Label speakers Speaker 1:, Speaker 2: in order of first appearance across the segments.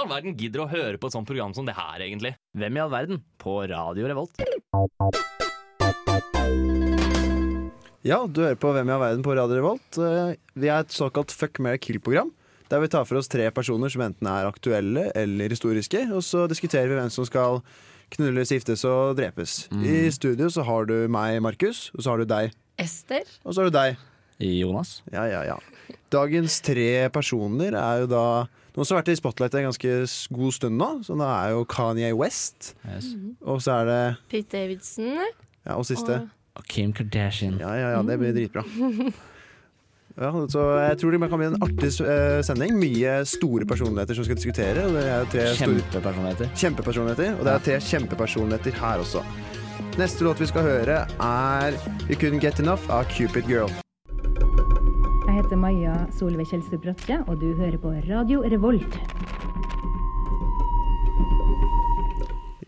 Speaker 1: all verden gidder å høre på et sånt program som det her, egentlig?
Speaker 2: Hvem i all verden? På Radio Revolt.
Speaker 3: Ja, du hører på Hvem i all verden på Radio Revolt. Eh, Vi er et såkalt fuck, marry, kill-program. Der vi tar for oss tre personer som enten er aktuelle eller historiske. Og så diskuterer vi hvem som skal knulles, giftes og drepes. I studio så har du meg, Markus. Og så har du deg.
Speaker 4: Ester?
Speaker 3: Og så har du deg.
Speaker 2: Jonas.
Speaker 3: Ja, ja, ja. Dagens tre personer er jo da noen som har vært i spotlight en ganske s- god stund nå. Så da er jo Kanye West.
Speaker 2: Yes.
Speaker 3: Og så er det
Speaker 4: Pete Davidson?
Speaker 3: Ja, og siste.
Speaker 4: Og-
Speaker 2: Og Kim Kardashian.
Speaker 3: Ja, ja, ja, det blir dritbra. Ja, så jeg tror det kan bli en artig eh, sending. Mye store personligheter som skal diskutere. Og det er tre store
Speaker 2: Kjempepersonligheter.
Speaker 3: kjempepersonligheter Og det er tre kjempepersonligheter her også. Neste låt vi skal høre, er You Couldn't Get Enough av Cupid Girl.
Speaker 5: Jeg heter Maja Solveig Kjelstrup Bratte, og du hører på Radio Revolt.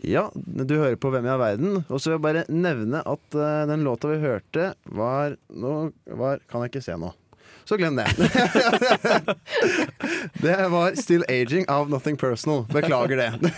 Speaker 3: Ja, du hører på Hvem i all verden. Og så vil jeg bare nevne at eh, den låta vi hørte, var Nå var Kan jeg ikke se nå. Så glem det. det var Still Aging av Nothing Personal. Beklager det.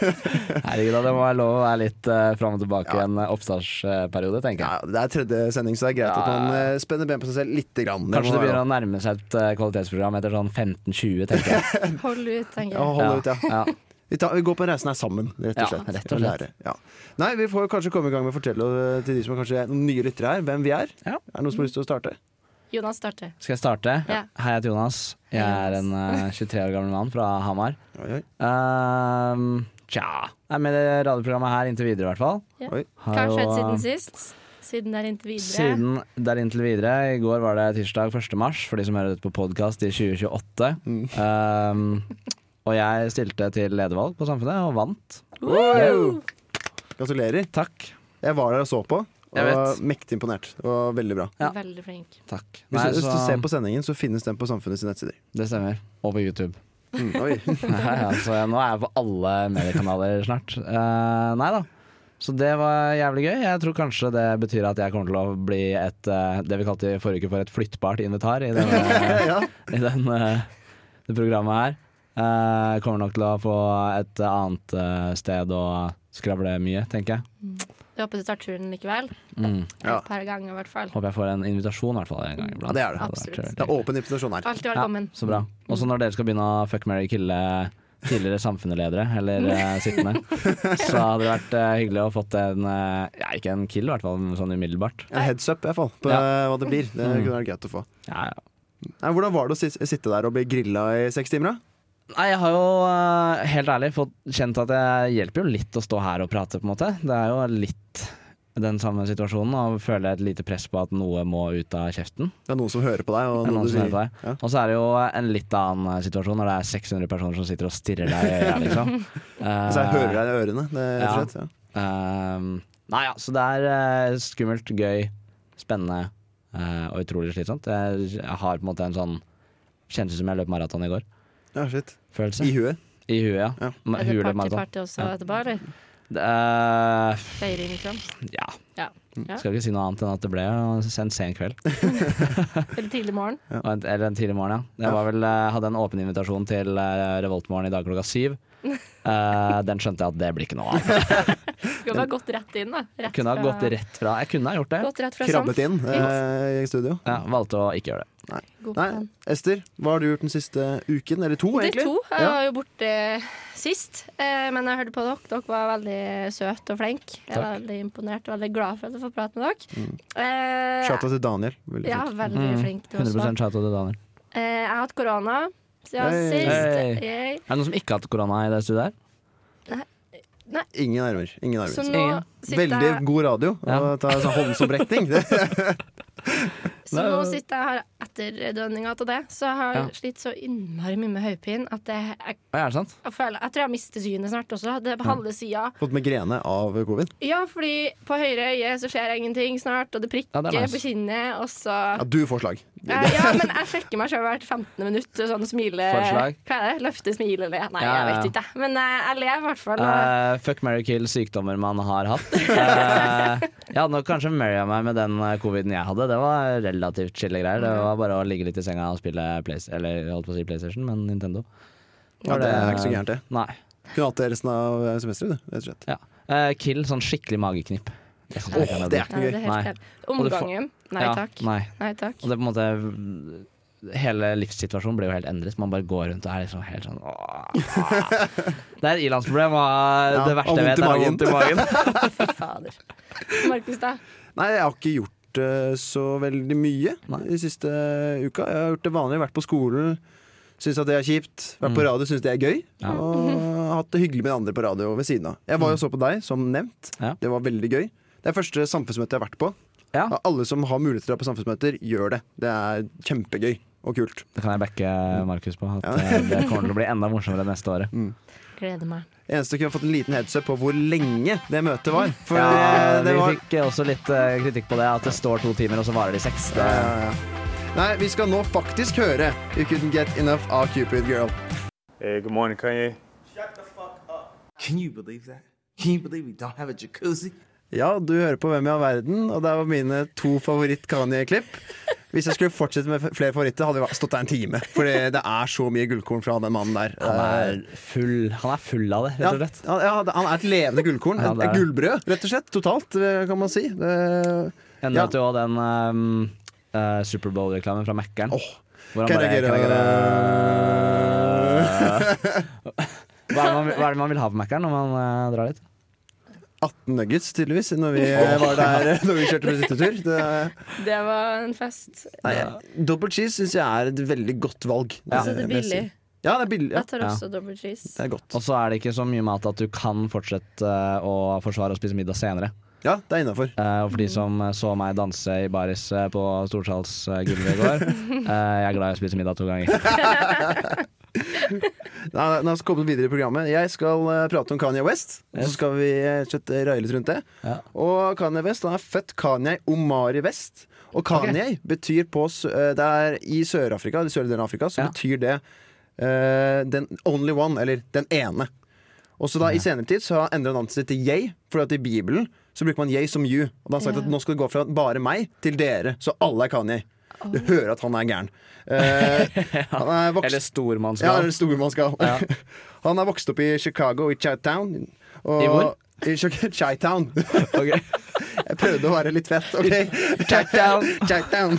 Speaker 2: Herregud, da, det må være lov å være litt uh, fram og tilbake
Speaker 3: Ja.
Speaker 2: i en eh, oppstartsperiode, tenker jeg.
Speaker 3: Ja, det er tredje sending, så det er greit
Speaker 2: Ja.
Speaker 3: at man eh, spenner ben på seg selv lite grann. Det
Speaker 2: Kanskje
Speaker 3: må
Speaker 2: det begynner
Speaker 3: være
Speaker 2: å nærme seg et eh, kvalitetsprogram etter sånn 15-20, tenker jeg.
Speaker 4: Hold ut,
Speaker 3: lov.
Speaker 4: tenker
Speaker 3: Ja,
Speaker 4: jeg.
Speaker 3: hold ut, ja.
Speaker 2: Ja.
Speaker 3: Vi, tar, vi går på en reise her sammen, rett og
Speaker 2: Ja,
Speaker 3: slett.
Speaker 2: rett og slett.
Speaker 3: Lære. Ja. Nei, vi får kanskje komme i gang med å fortelle eh, til de som er kanskje noen nye lyttere her, hvem vi er.
Speaker 2: Ja.
Speaker 3: Er det noen som har lyst til å starte?
Speaker 4: Jonas starter.
Speaker 2: Skal jeg starte?
Speaker 4: Ja.
Speaker 2: Hei, jeg heter Jonas. Jeg
Speaker 4: Hei,
Speaker 2: er en eh, 23 år gammel mann fra Hamar.
Speaker 3: Oi, oi.
Speaker 2: Ehm, tja Jeg er med i det radioprogrammet her inntil videre, i hvert fall.
Speaker 4: Ja.
Speaker 3: Oi.
Speaker 2: Har
Speaker 4: Hva har
Speaker 2: jo,
Speaker 4: skjedd
Speaker 2: eh,
Speaker 4: siden sist? Siden det er inntil videre?
Speaker 2: Siden der inntil videre. I går var det tirsdag 1. mars, for de som hører dette på podkast i 2028.
Speaker 3: Mm.
Speaker 2: Ehm, og jeg stilte til ledervalg på Samfunnet og vant.
Speaker 3: Wow! Gratulerer.
Speaker 2: Takk.
Speaker 3: Jeg var der og så på, og
Speaker 2: Jeg vet.
Speaker 3: var mektig imponert. Det var veldig bra.
Speaker 2: Ja.
Speaker 4: Veldig flink.
Speaker 2: Takk.
Speaker 3: Hvis,
Speaker 2: Nei,
Speaker 3: du, hvis du
Speaker 2: så-
Speaker 3: ser på sendingen, så finnes den på Samfunnets nettsider.
Speaker 2: Det stemmer. Og på YouTube.
Speaker 3: Mm, oi.
Speaker 2: Nei, altså, jeg- nå er jeg på alle mediekanaler snart. Eh, nei da. Så det var jævlig gøy. Jeg tror kanskje det betyr at jeg kommer til å bli et eh, det vi kalte i forrige uke for et flyttbart invitar i, denne,
Speaker 3: ja.
Speaker 2: i den, eh, det programmet her. Eh, kommer nok til å få et annet eh, sted å skravle mye, tenker jeg.
Speaker 4: Jeg håper du tar turen likevel.
Speaker 2: Mm.
Speaker 3: Ja.
Speaker 4: Et par ganger, i hvert fall.
Speaker 2: Håper jeg får en invitasjon i hvert fall en gang
Speaker 3: ja,
Speaker 2: iblant.
Speaker 3: det er det.
Speaker 2: hadde vært
Speaker 4: Absolutt.
Speaker 2: kjempegøy.
Speaker 3: Det er åpen invitasjon her.
Speaker 4: Alltid velkommen.
Speaker 2: Ja, så bra. Og så når dere skal begynne å fuck, marry, kille tidligere samfunnsledere, eller eh, sittende, så hadde det vært eh, hyggelig å fått en eh, Ja, ikke en kill, i hvert fall men sånn umiddelbart.
Speaker 3: En heads up, i hvert fall, på eh, hva det blir. Det
Speaker 2: Mm.
Speaker 3: kunne vært greit å få.
Speaker 2: Ja, ja.
Speaker 3: Nei, hvordan var det å sit- sitte der og bli grilla i seks timer, da?
Speaker 2: Nei, jeg har jo eh, helt ærlig fått kjent at det hjelper jo litt å stå her og prate, på en måte. Det er jo litt den samme situasjonen, og føler et lite press på at noe må ut av kjeften.
Speaker 3: Det er noen som hører på deg. Og
Speaker 2: Det
Speaker 3: noen
Speaker 2: er noen
Speaker 3: du
Speaker 2: som
Speaker 3: sier.
Speaker 2: heter deg. Og så er det jo en litt annen eh, situasjon når det er 600 personer som sitter og stirrer deg i øya, liksom.
Speaker 3: Ja. Så jeg hører deg i ørene. Det, rett og
Speaker 2: Ja.
Speaker 3: slett, ja.
Speaker 2: Ehm, nei ja, så det er eh, skummelt, gøy, spennende eh, og utrolig slitsomt. Jeg, jeg har på en måte en sånn kjennelse som jeg løp maraton i går.
Speaker 3: ja, shit.
Speaker 2: Følelse.
Speaker 3: I huet.
Speaker 2: I huet, ja.
Speaker 3: Ja.
Speaker 2: Ma-
Speaker 4: Er det
Speaker 2: Huet løp maraton.
Speaker 4: party-party også etterpå, eller?
Speaker 2: Det, eh,
Speaker 4: Feiring, liksom?
Speaker 2: ja,
Speaker 4: Ja. ja.
Speaker 2: skal ikke si noe annet enn at det ble en sen kveld.
Speaker 4: Eller tidlig morgen?
Speaker 2: Og en- Eller en tidlig morgen, ja.
Speaker 3: Ja.
Speaker 2: Jeg var vel, eh, hadde en åpen invitasjon til eh, Revoltmorgen i dag klokka syv. Eh, den skjønte jeg at det blir ikke noe av.
Speaker 4: Du kunne ha gått rett inn, da. Rett
Speaker 2: Kunne ha
Speaker 4: fra-
Speaker 2: gått rett fra. Jeg kunne ha gjort det.
Speaker 4: gått rett fra
Speaker 3: Krabbet inn
Speaker 4: Fint.
Speaker 3: eh, i studio.
Speaker 2: Ja, valgte å ikke gjøre det.
Speaker 4: God
Speaker 3: Nei,
Speaker 4: plan.
Speaker 3: Ester, hva har du gjort den siste uken? Eller to,
Speaker 4: De
Speaker 3: egentlig?
Speaker 4: to. Jeg
Speaker 3: Ja.
Speaker 4: var jo borte sist, eh, men jeg hørte på dere. Dere var veldig søte og flinke. Jeg var
Speaker 2: Takk.
Speaker 4: veldig imponert og veldig glad for at jeg får prate med dere. Eh,
Speaker 3: Shout-out til Daniel. Veldig
Speaker 4: ja,
Speaker 3: flink.
Speaker 4: veldig flink du også.
Speaker 2: 100 shout til Daniel.
Speaker 4: Eh, jeg har hatt korona siden
Speaker 3: Hey.
Speaker 4: sist. Eh, Yay.
Speaker 2: Er det noen som ikke har hatt korona i det studioet her?
Speaker 3: Ingen armer. Ingen
Speaker 4: Så
Speaker 3: armer.
Speaker 4: nå
Speaker 2: Ingen.
Speaker 4: sitter
Speaker 3: Veldig
Speaker 4: jeg,
Speaker 3: god radio.
Speaker 2: Ja.
Speaker 3: Å ta sånn håndsopprekning. Det,
Speaker 4: så nå sitter jeg her etter dønninga til det. Så jeg har
Speaker 2: Ja.
Speaker 4: slitt så innmari mye med hodepine at jeg, jeg,
Speaker 2: Ja, er det sant?
Speaker 4: jeg føler Jeg tror jeg mister synet snart også. Det er på halve sida.
Speaker 3: fått migrene av covid.
Speaker 4: Ja, fordi på høyre øye så skjer ingenting snart, og det prikker
Speaker 2: Ja, det er nice.
Speaker 4: på kinnet, og så
Speaker 3: Ja, du får slag.
Speaker 4: Eh, ja, men jeg sjekker meg sjøl hvert 15. minutt. Sånn smile
Speaker 2: Forslag?
Speaker 4: Hva er det? Løfte, smile eller Nei,
Speaker 2: Ja, ja,
Speaker 4: jeg
Speaker 2: ja.
Speaker 4: vet ikke. jeg. Men eh, jeg ler i hvert fall. og-
Speaker 2: Eh, fuck, marry, kill sykdommer man har hatt. Eh, jeg hadde nok kanskje marria meg med den eh, coviden jeg hadde. Det var relativt chille greier.
Speaker 3: Mm.
Speaker 2: Det var bare å ligge litt i senga og spille Play eller jeg holdt på å si PlayStation, men Nintendo.
Speaker 3: Ja, det er ikke så gærent, det.
Speaker 2: Nei.
Speaker 3: Kunne hatt det resten av eh, semesteret, du, rett og slett.
Speaker 2: Ja. Eh, kill sånn skikkelig mageknip. Det synes jeg ikke
Speaker 3: Åh, det
Speaker 2: er nødvendig.
Speaker 3: er ikke
Speaker 4: Ja, det er
Speaker 3: gøy.
Speaker 2: Nei.
Speaker 4: helt klart.
Speaker 2: Og det fa-
Speaker 4: Omgangen. Nei
Speaker 2: Ja,
Speaker 4: takk.
Speaker 2: Nei.
Speaker 4: Nei takk.
Speaker 2: Og det er på en måte Hele livssituasjonen blir jo helt endret. Man bare går rundt og er liksom helt sånn åh. Det er et ilandsproblem, og
Speaker 3: Ja,
Speaker 2: det verste
Speaker 3: og
Speaker 2: jeg vet, er å ha
Speaker 3: vondt
Speaker 2: vondt i magen.
Speaker 4: Fy fader. Markus, da?
Speaker 3: Nei, jeg har ikke gjort eh, så veldig mye
Speaker 2: Nei.
Speaker 3: de siste uka. Jeg har gjort det vanlige, vært på skolen, syns at det er kjipt. Vært på radio, syns det er gøy.
Speaker 2: Mm. Ja. Mm.
Speaker 3: Og hatt det hyggelig med de andre på radio ved siden av. Jeg var jo og så på deg, som nevnt.
Speaker 2: Ja.
Speaker 3: Det var veldig gøy. Det er første samfunnsmøte jeg har vært på.
Speaker 2: Ja,
Speaker 3: Av Alle som har mulighet til å dra på samfunnsmøter, gjør det. Det er kjempegøy og kult.
Speaker 2: det kan jeg backe Markus på. At eh, det kommer til å bli enda morsommere neste året.
Speaker 4: Gleder meg.
Speaker 3: Eneste kunne fått en liten headset på hvor lenge det møtet var. For
Speaker 2: Ja,
Speaker 3: eh, det
Speaker 2: vi
Speaker 3: var
Speaker 2: fikk også litt eh, kritikk på det, at det står to timer, og så varer de seks. Det,
Speaker 3: Ja, ja. Nei, vi skal nå faktisk høre You Couldn't Get Enough av Cupid Girl.
Speaker 6: Hey, É, good morning, Kanye.
Speaker 7: Can you believe that? Can you believe we don't have a jacuzzi?
Speaker 3: Ja, du hører på Hvem i all verden, og det var mine to favoritt-Kanye-klipp. Hvis jeg skulle fortsette med flere favoritter, hadde vi stått der en time. For det er så mye gullkorn fra den mannen der. Eh,
Speaker 2: han, er full, han er full av det, rett
Speaker 3: ja,
Speaker 2: og slett.
Speaker 3: han, ja, han er et levende gullkorn.
Speaker 2: Ja,
Speaker 3: Et-
Speaker 2: det er
Speaker 3: et
Speaker 2: det.
Speaker 3: gullbrød, rett og slett. Totalt, eh, kan man si. Eh, Det-
Speaker 2: Ender
Speaker 3: Ja.
Speaker 2: at jo også den ehm, eh, Superbowl-reklamen fra Mækkern.
Speaker 3: Åh.
Speaker 2: Hvor han
Speaker 3: Can I
Speaker 2: bare-
Speaker 3: get
Speaker 2: Can I get
Speaker 3: a-
Speaker 2: a- hva, er det man, hva er det man vil ha på Mækkern når man eh, drar dit?
Speaker 3: 18 nuggets, tydeligvis, når vi var der eh, Når vi kjørte besittetur. Det er-
Speaker 4: Det var en fest.
Speaker 3: Nei, Double cheese syns jeg er et veldig godt valg.
Speaker 4: Så
Speaker 2: Ja.
Speaker 4: Altså, det er
Speaker 3: vil jeg si.
Speaker 4: billig.
Speaker 3: Ja, det er billig. Ja.
Speaker 4: Jeg tar
Speaker 2: Ja.
Speaker 4: også double cheese.
Speaker 3: Det er godt.
Speaker 2: Og så er det ikke så mye mat at du kan fortsette eh, å forsvare å spise middag senere.
Speaker 3: Ja, det er innafor.
Speaker 2: Eh, og for de som eh, så meg danse i baris eh, på Storsalsgulvet i går, eh, jeg er glad i å spise middag to ganger.
Speaker 3: Nei, nei, La oss komme videre i programmet. Jeg skal eh, prate om Kanye West. Og så skal vi eh, rett og slett raie litt rundt det.
Speaker 2: Ja.
Speaker 3: Og Kanye West han er født Kanye Omari West. Og Kanye betyr på sø- eh, Det er i Sør-Afrika, den sørlige delen av Afrika, så
Speaker 2: Ja.
Speaker 3: betyr det eh, den only one, eller den ene. Og så da I senere tid så har han endra navnet sitt til Yay, Fordi at i Bibelen så bruker man Yay som you. Og da har han sagt
Speaker 4: Ja.
Speaker 3: at nå skal det gå fra bare meg til dere, så alle er Kanye. Du hører at han er gæren. Eh, Han er vokst
Speaker 2: Eller stormannsgal.
Speaker 3: ja, eller stormannsgal. Han har vokst opp i Chicago, i Chitown. Og
Speaker 2: I hvor?
Speaker 3: I Chi- Chitown.
Speaker 2: Ok.
Speaker 3: Jeg prøvde å være litt fett, OK?
Speaker 2: Chitown.
Speaker 3: Chitown.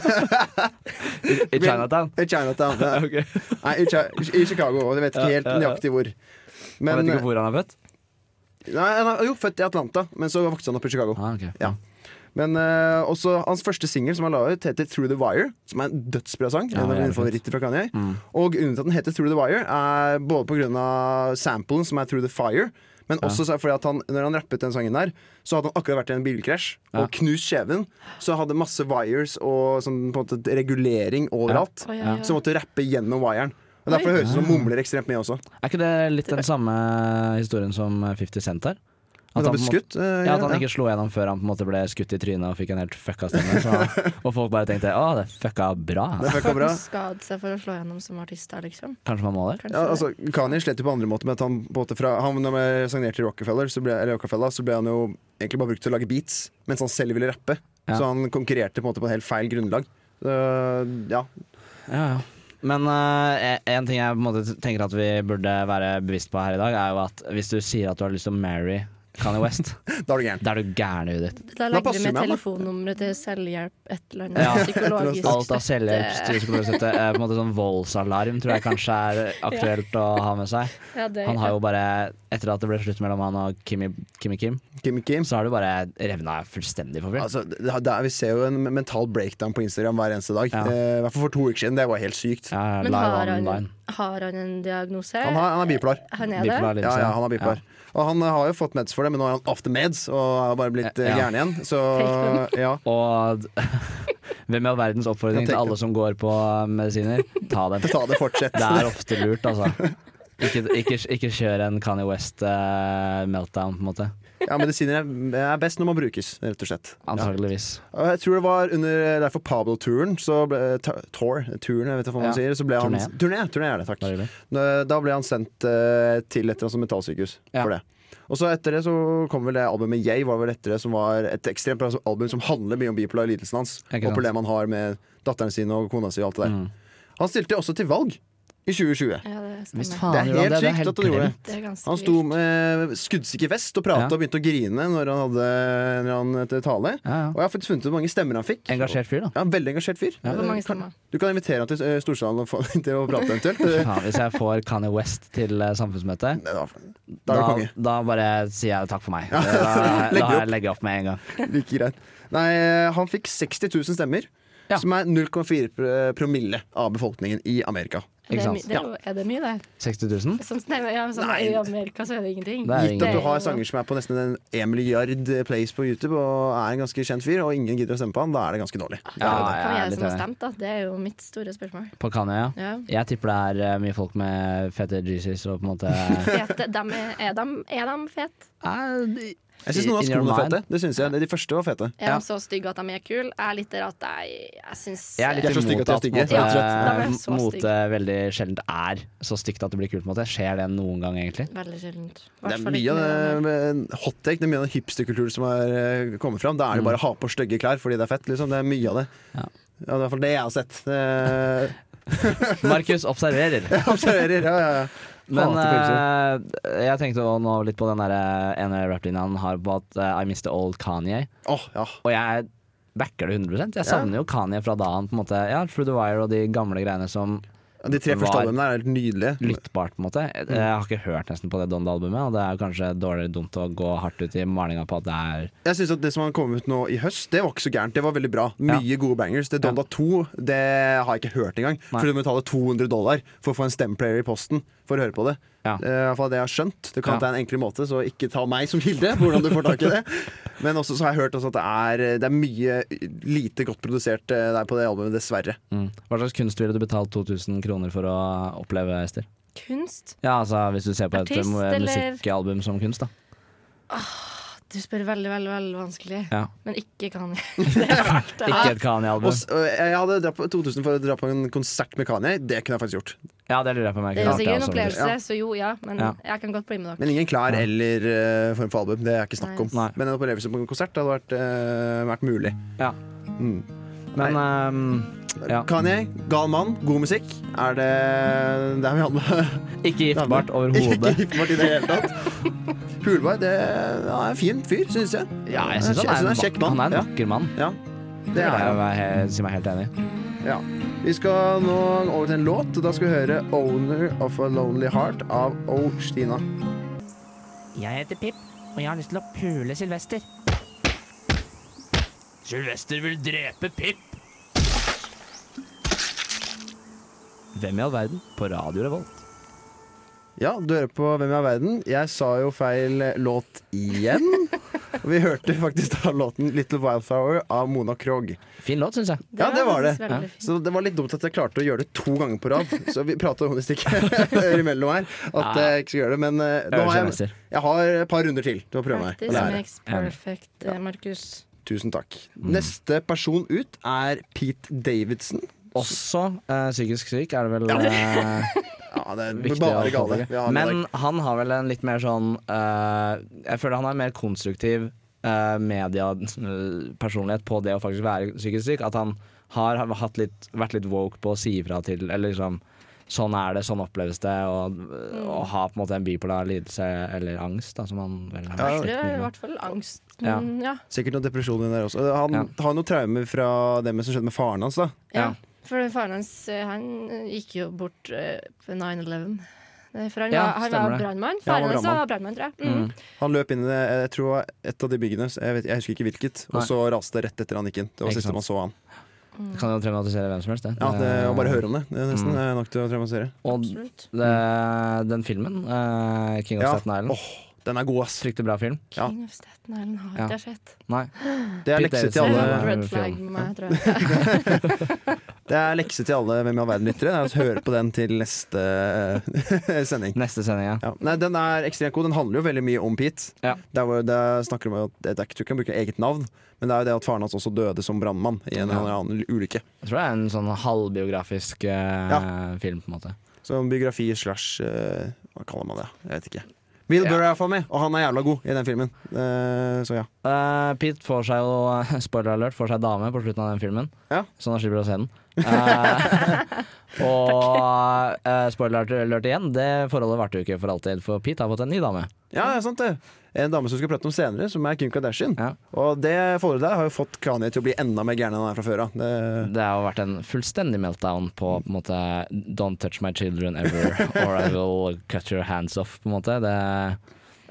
Speaker 2: I Chinatown.
Speaker 3: I Chinatown. ja.
Speaker 2: Ok.
Speaker 3: Nei, i, Chi I Chicago. Og jeg vet ikke
Speaker 2: Ja,
Speaker 3: helt
Speaker 2: ja, ja.
Speaker 3: nøyaktig hvor.
Speaker 2: Man
Speaker 3: Men, eh,
Speaker 2: vet ikke hvor han er født?
Speaker 3: nei, han er jo født i Atlanta, men så vokste han opp i Chicago.
Speaker 2: Ah, ok.
Speaker 3: Ja. Men eh, også hans første singel som han la ut, heter 'Through The Wire', som er en dødsbra sang. en
Speaker 2: Ja,
Speaker 3: av
Speaker 2: jævlig
Speaker 3: mine
Speaker 2: fett.
Speaker 3: favoritter fra Kanye.
Speaker 2: Mm.
Speaker 3: Og grunnen til at den heter 'Through The Wire', er både pga. samplen som er 'Through The Fire', men også så er det fordi at han, når han rappet den sangen der, så hadde han akkurat vært i en bilkrasj og knust kjeven. Så hadde masse wires og sånn på en måte regulering overalt.
Speaker 4: Å, ja, ja.
Speaker 3: Så måtte rappe gjennom wiren. Og Derfor høres det ut som
Speaker 2: Mm.
Speaker 3: mumler ekstremt mye også.
Speaker 2: Er ikke det litt den samme historien som 50 Cent har?
Speaker 3: At han ble
Speaker 2: på en
Speaker 3: skutt?
Speaker 2: måte-
Speaker 3: eh,
Speaker 2: Ja, at han
Speaker 3: ja.
Speaker 2: ikke slo gjennom før han på en måte ble skutt i trynet og fikk en helt fucka stemme. Så, og folk bare tenkte å, det fucka bra.
Speaker 3: Det fucka bra.
Speaker 4: Folk skader seg for å slå gjennom som artist der, liksom.
Speaker 2: Kanskje man må det?
Speaker 4: Kanskje
Speaker 3: Ja, altså, Kanye slet jo på andre måter med at han på en måte fra han, Når han signerte i Rockefeller, så ble, eller Rockefeller, så ble han jo egentlig bare brukt til å lage beats, mens han selv ville rappe.
Speaker 2: Ja.
Speaker 3: Så han konkurrerte på en måte på en helt feil grunnlag. Uh, ja.
Speaker 2: Ja, ja. Men eh, en ting jeg på en måte tenker at vi burde være bevisst på her i dag, er jo at hvis du sier at du har lyst til å marry Kanye West,
Speaker 3: Da er du gæren.
Speaker 2: da er du gæren i huet ditt.
Speaker 4: det. Da legger
Speaker 3: passer
Speaker 4: vi med
Speaker 3: meg, da.
Speaker 4: telefonnummeret til selvhjelp et eller annet
Speaker 2: Ja.
Speaker 4: psykologisk
Speaker 2: Alt av
Speaker 4: støtte.
Speaker 2: selvhjelp, psykologisk støtte, eh, på en måte sånn voldsalarm tror jeg kanskje er aktuelt å ha med seg.
Speaker 4: Ja, det-
Speaker 2: Han har jo bare, etter at det ble slutt mellom han og Kimmy, Kimmy Kim,
Speaker 3: Kim Kim.
Speaker 2: så har du bare revna fullstendig for fritt.
Speaker 3: Altså, det, det er, vi ser jo en mental breakdown på Instagram hver eneste dag.
Speaker 2: Ja.
Speaker 3: Eh, I hvert fall for to uker siden. Det var helt sykt.
Speaker 2: Ja,
Speaker 4: Men
Speaker 2: live
Speaker 4: har han,
Speaker 2: online.
Speaker 4: har han en diagnose?
Speaker 3: Han, har, han er bipolar.
Speaker 4: Han er
Speaker 2: Bipolar
Speaker 4: det?
Speaker 2: lidelse.
Speaker 3: Ja, ja, han er bipolar. Og han eh, har jo fått meds for det, men nå er han after meds og har bare blitt eh,
Speaker 2: Ja.
Speaker 3: gæren igjen. Så ja.
Speaker 2: Og d- hvem i all verdens oppfordring
Speaker 3: Jeg
Speaker 2: til
Speaker 3: tenkte-
Speaker 2: alle som går på eh, medisiner, ta dem.
Speaker 3: Ta det, fortsett.
Speaker 2: Det er ofte lurt, altså. Ikke, ikke, ikke kjør en Kanye West-meltdown, på en måte.
Speaker 3: Ja, medisiner er, er best når man brukes, rett og slett.
Speaker 2: Antakeligvis.
Speaker 3: Og Jeg tror det var under derfor Pablo-turen Så ble, ta- tour, turen, jeg vet ikke hva man
Speaker 2: Ja.
Speaker 3: sier Så ble han,
Speaker 2: Turné.
Speaker 3: turné, turné er det, takk
Speaker 2: Bare hyggelig.
Speaker 3: Nå- Da ble han sendt eh, til et eller annet sånt mentalsykehus
Speaker 2: Ja.
Speaker 3: For det og så etter det så kom vel det albumet Yay var vel etter det som var et ekstremt bra album som handler mye om bipolar lidelsen hans
Speaker 2: Ikke
Speaker 3: Og
Speaker 2: sant. Mm.
Speaker 3: problemet han har med datteren sin og kona sin og alt det der Han stilte også til valg i 2020.
Speaker 4: Ja, det
Speaker 2: Visst
Speaker 4: stemmer.
Speaker 2: faen
Speaker 3: Det er helt
Speaker 2: gjorde han det, det er
Speaker 3: sykt
Speaker 2: helt
Speaker 3: at han gjorde det.
Speaker 2: glemt.
Speaker 4: Det er ganske
Speaker 3: Han sto med skuddsikker vest og prata
Speaker 2: Ja.
Speaker 3: og begynte å grine når han hadde en eller annen til tale.
Speaker 2: Ja, ja.
Speaker 3: Og jeg har faktisk funnet ut hvor mange stemmer han fikk.
Speaker 2: Engasjert fyr, da.
Speaker 3: Ja, Veldig engasjert fyr.
Speaker 4: vilt. Hvor mange
Speaker 3: Kan-
Speaker 4: stemmer?
Speaker 3: Du kan invitere han til eh, Storsalen og få han til å prate eventuelt.
Speaker 2: Faen, hvis jeg får Kanye West til eh, samfunnsmøte,
Speaker 3: Nei, da, da er du konge.
Speaker 2: da bare sier jeg takk for meg.
Speaker 3: Legger
Speaker 2: Da, da har jeg legger opp med en gang.
Speaker 3: Like greit. Nei, eh, han fikk 60 000 stemmer,
Speaker 2: Ja.
Speaker 3: som er 0,4 pr- eh, promille av befolkningen i Amerika.
Speaker 4: Det
Speaker 2: Ikke
Speaker 4: er,
Speaker 2: sant?
Speaker 4: my- det er, jo- er det mye, det?
Speaker 2: 60 000?
Speaker 4: Som stemmer, ja, sånn,
Speaker 3: Nei.
Speaker 4: I Amerika så er det ingenting.
Speaker 2: Det er
Speaker 3: Gitt at du
Speaker 2: ingen.
Speaker 3: har sanger som er på nesten en 1 milliard eh, plays på YouTube og er en ganske kjent fyr, og ingen gidder å stemme på han, da er det ganske dårlig.
Speaker 2: Ja,
Speaker 4: Hvem
Speaker 2: jeg
Speaker 4: er
Speaker 2: er
Speaker 4: det
Speaker 2: litt
Speaker 4: som har
Speaker 2: enig.
Speaker 4: stemt, da? Det er jo mitt store spørsmål.
Speaker 2: På Kanye, ja.
Speaker 4: Ja.
Speaker 2: Jeg tipper det er eh, mye folk med fete Jesus og på en måte
Speaker 4: Fete, dem er, er, de, er de fete?
Speaker 2: Eh,
Speaker 3: Jeg syns noen av
Speaker 2: In your
Speaker 3: skoene er
Speaker 2: mind.
Speaker 3: fete. Det synes jeg, De første var fete.
Speaker 4: Er
Speaker 2: Ja.
Speaker 4: de så stygge at de er kule? Jeg er litt der at jeg, jeg syns
Speaker 2: Jeg er litt
Speaker 3: De er så stygge
Speaker 2: imot
Speaker 3: at
Speaker 2: at
Speaker 3: de
Speaker 2: på
Speaker 3: er
Speaker 2: en
Speaker 3: stygge, rett og
Speaker 4: slett. Ja, de er
Speaker 2: måte,
Speaker 4: så
Speaker 2: mote veldig sjelden er så stygt at det blir kult. på en måte Skjer det noen gang, egentlig?
Speaker 4: Veldig sjeldent.
Speaker 3: Det er mye av det hot take, det er mye av den hipsterkulturen som har eh, kommet fram. Da er det bare å ha på stygge klær fordi det er fett. Liksom. Det er mye av det.
Speaker 2: Mm. Ja.
Speaker 3: Ja, det er i hvert fall det jeg har sett. Eh,
Speaker 2: Markus observerer.
Speaker 3: Jeg observerer. Ja, ja, ja.
Speaker 2: Men
Speaker 3: Hater pølser.
Speaker 2: eh, jeg tenkte også nå litt på den der eh, ene rapplinja han har på at eh, I miss the old Kanye.
Speaker 3: Åh, ja.
Speaker 2: Og jeg backer det 100 Jeg savner jo Kanye fra da han på en måte Ja, Through the Wire og de gamle greiene som
Speaker 3: De tre første
Speaker 2: Var-
Speaker 3: albumene er helt nydelige.
Speaker 2: lyttbart, på en måte. Jeg, jeg har ikke hørt nesten på det Donda-albumet, og det er jo kanskje dårligere dumt å gå hardt ut i malinga på at det er
Speaker 3: Jeg synes at Det som har kommet ut nå i høst, det var ikke så gærent. Det var veldig bra. Mye gode bangers. Det Donda 2 det har jeg ikke hørt engang.
Speaker 2: Nei.
Speaker 3: For du må betale 200 dollar for å få en stemplayer i posten for å høre på det.
Speaker 2: Ja.
Speaker 3: Eh, I hvert fall det jeg har skjønt. Det kan
Speaker 2: Ja.
Speaker 3: ja. en enklere måte, så ikke ta meg som kilde på hvordan du får tak i det. Men også så har jeg hørt også at det er, det er mye lite godt produsert eh, der på det albumet, dessverre.
Speaker 2: mm. Hva slags kunst ville du betalt 2000 kroner for å oppleve, Ester?
Speaker 4: Kunst?
Speaker 2: Ja, altså hvis du ser på et
Speaker 4: Artist,
Speaker 2: mu-
Speaker 4: eller?
Speaker 2: musikkalbum som kunst, da.
Speaker 4: Du spør veldig, veldig veldig vanskelig.
Speaker 2: Ja.
Speaker 4: Men ikke kan jeg. Det er fælt. det.
Speaker 2: Ikke et Kanye-album.
Speaker 3: Og, s- og jeg hadde dratt på 2000 for å dra på en konsert med Kanye. Det kunne jeg faktisk gjort.
Speaker 2: Ja, det lurer jeg på om jeg
Speaker 4: Det er
Speaker 2: kunne
Speaker 4: jo
Speaker 2: gjort
Speaker 4: sikkert en
Speaker 2: også, faktisk.
Speaker 4: opplevelse, så jo, ja. Men
Speaker 2: Ja.
Speaker 4: jeg kan godt bli med dere.
Speaker 3: Men ingen klær eller eh, form for album. Det er ikke snakk om.
Speaker 2: Nei.
Speaker 3: Men en opplevelse på en konsert hadde vært, eh, vært mulig.
Speaker 2: Ja.
Speaker 3: Mm.
Speaker 2: Men ehm, ja.
Speaker 3: Kanye, gal mann, god musikk. Er det Det er vi alle.
Speaker 2: ikke giftbart
Speaker 3: Ikke
Speaker 2: overhodet.
Speaker 3: giftbart i det hele tatt. Hulberg det ja, er en fin fyr, syns jeg.
Speaker 2: Ja, jeg syns
Speaker 3: Jeg
Speaker 2: han, er en
Speaker 3: kjekk
Speaker 2: vak-
Speaker 3: mann.
Speaker 2: han er en
Speaker 3: Ja.
Speaker 2: vakker mann.
Speaker 3: Ja,
Speaker 2: Det
Speaker 3: det er
Speaker 2: er
Speaker 3: han.
Speaker 2: jeg si meg helt enig i.
Speaker 3: Ja. Vi skal nå over til en låt. og Da skal vi høre 'Owner of a Lonely Heart' av O. Stina.
Speaker 8: Jeg heter Pip, og jeg har lyst til å pule Sylvester.
Speaker 1: Sylvester vil drepe Pip.
Speaker 2: Hvem i all verden? På Radio Revolt.
Speaker 3: Ja, du hører på Hvem er verden? Jeg sa jo feil låt igjen. Og vi hørte faktisk da låten 'Little Wildflower' av Mona Krogh.
Speaker 2: Fin låt, syns jeg.
Speaker 3: Ja, det var det.
Speaker 4: faktisk veldig fint.
Speaker 3: Så det var litt dumt at jeg klarte å gjøre det to ganger på rad. Så vi prata om det stikket imellom her. At jeg ikke skal gjøre det. Men eh, nå
Speaker 2: Øvelse
Speaker 3: har jeg,
Speaker 2: mester.
Speaker 3: jeg har et par runder til til å prøve meg.
Speaker 4: Practice
Speaker 3: å lære.
Speaker 4: makes perfect, eh, Markus.
Speaker 3: Tusen takk. Neste person ut er Pete Davidson.
Speaker 2: Også eh, psykisk syk, er det vel eh,
Speaker 3: Ja, det er
Speaker 2: viktig å
Speaker 3: bare gale.
Speaker 2: påpeke.
Speaker 3: Vi har med
Speaker 2: Men han har vel en litt mer sånn eh, Jeg føler han har en mer konstruktiv eh, mediepersonlighet på det å faktisk være psykisk syk. At han har hatt litt, vært litt woke på å si ifra til Eller liksom Sånn er det, sånn oppleves det. Og,
Speaker 3: Mm.
Speaker 2: og ha på en måte en bipolar lidelse eller angst, da, som han vel har.
Speaker 3: Ja,
Speaker 4: Det
Speaker 2: slitt
Speaker 4: er
Speaker 2: mye
Speaker 4: i
Speaker 2: med.
Speaker 4: hvert fall angst.
Speaker 2: Ja.
Speaker 4: Mm, ja.
Speaker 3: Sikkert noe depresjon inni der også. Han
Speaker 2: Ja.
Speaker 3: har noen traumer fra det med- som skjedde med faren hans. da
Speaker 2: Ja.
Speaker 4: Ja, for faren hans eh, han gikk jo bort eh, på 9-11. Eh, For han
Speaker 2: Ja,
Speaker 4: var, han
Speaker 2: stemmer
Speaker 4: var
Speaker 2: det.
Speaker 4: brannmann.
Speaker 3: Ja, han
Speaker 4: Faren
Speaker 3: var
Speaker 4: hans var brannmann, tror jeg. Mm.
Speaker 3: Han løp inn i det, jeg tror det var et av de byggene, så jeg, vet, jeg husker ikke hvilket. Og
Speaker 2: Nei.
Speaker 3: så raste det rett etter han gikk inn. Det var
Speaker 2: Ikke
Speaker 3: siste
Speaker 2: sant.
Speaker 3: man så han.
Speaker 2: Det kan jo traumatisere hvem som helst, det.
Speaker 3: Ja, det, Å bare høre om det, det er nesten eh, nok til å traumatisere.
Speaker 2: Og
Speaker 4: Absolutt.
Speaker 2: det, den filmen, eh, 'King of
Speaker 3: Mm. Ja.
Speaker 2: Staten Island',
Speaker 3: Åh, den er god, ass.
Speaker 2: fryktelig bra film.
Speaker 3: Ja.
Speaker 4: King of Staten Island har
Speaker 2: Ja.
Speaker 4: ikke jeg sett.
Speaker 2: Nei.
Speaker 3: Det er
Speaker 2: Pete
Speaker 3: lekse til
Speaker 4: Det
Speaker 2: Davidson.
Speaker 4: er
Speaker 3: alle,
Speaker 4: en red
Speaker 2: film.
Speaker 4: flag med meg, tror jeg.
Speaker 3: det er lekse til alle Hvem i all verden-lyttere. Det er å Høre på den til neste eh, sending.
Speaker 2: Neste sending, ja.
Speaker 3: Ja. Nei, Den er ekstremt god. Den handler jo veldig mye om Pete.
Speaker 2: Ja.
Speaker 3: Der hvor det snakker om at, det er ikke- Du kan bruke eget navn, men det er jo det at faren hans også døde som brannmann i en
Speaker 2: Ja.
Speaker 3: eller annen ulykke.
Speaker 2: Jeg tror det er en sånn halvbiografisk eh, film, på en måte.
Speaker 3: Så en biografi slash eh, Hva kaller man det? Jeg vet ikke. Bill Burr er iallfall med, og han er jævla god i den filmen. Eh, så ja.
Speaker 2: Eh, Pete får seg jo, spoiler alert, får seg dame på slutten av den filmen,
Speaker 3: Ja.
Speaker 2: så han slipper å se den. Eh, og eh, spoiler alert igjen, det forholdet varte jo ikke for alltid, for Pete har fått en ny dame.
Speaker 3: Ja, det er sant det. En dame som vi skal prate om senere, som er Kim Kardashian.
Speaker 2: Ja.
Speaker 3: Og det forholdet der har jo fått Kanye til å bli enda mer gæren enn han er fra før av. Det...
Speaker 2: Det har jo vært en fullstendig meltdown på på en måte Don't touch my children ever, or I will cut your hands off, på en måte. Det,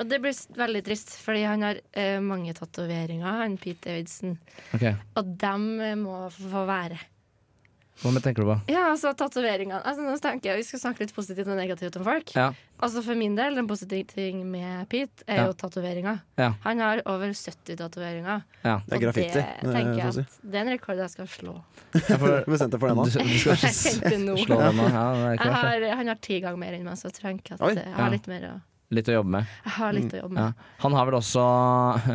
Speaker 4: Og det blir s- veldig trist, fordi han har eh, mange tatoveringer, han Pete Davidson.
Speaker 2: ok,
Speaker 4: Og dem eh, må f- få være.
Speaker 2: Hva mer tenker du på?
Speaker 4: Ja, altså tatoveringene. Altså, nå tenker jeg Vi skal snakke litt positivt og negativt om folk.
Speaker 2: Ja.
Speaker 4: Altså For min del, den positive ting med Pete, er
Speaker 2: Ja.
Speaker 4: jo tatoveringer.
Speaker 2: Ja.
Speaker 4: Han har over 70 tatoveringer.
Speaker 2: Ja.
Speaker 3: Det er graffiti, eh,
Speaker 4: Det,
Speaker 3: det får
Speaker 4: tenker jeg
Speaker 3: jeg
Speaker 4: at det er en rekord jeg skal slå.
Speaker 3: Bestemt deg for det
Speaker 2: Du,
Speaker 3: nå.
Speaker 2: du skal ikke
Speaker 4: Jeg tenkte nå.
Speaker 2: slå den nå? Ja, det er
Speaker 4: Jeg
Speaker 2: klart.
Speaker 4: har, han har ti ganger mer enn meg, så jeg tenker at
Speaker 3: Oi,
Speaker 4: jeg har
Speaker 2: ja.
Speaker 4: litt mer å,
Speaker 2: Litt å jobbe med.
Speaker 4: jeg har litt å jobbe med.
Speaker 2: Ja. Han har vel også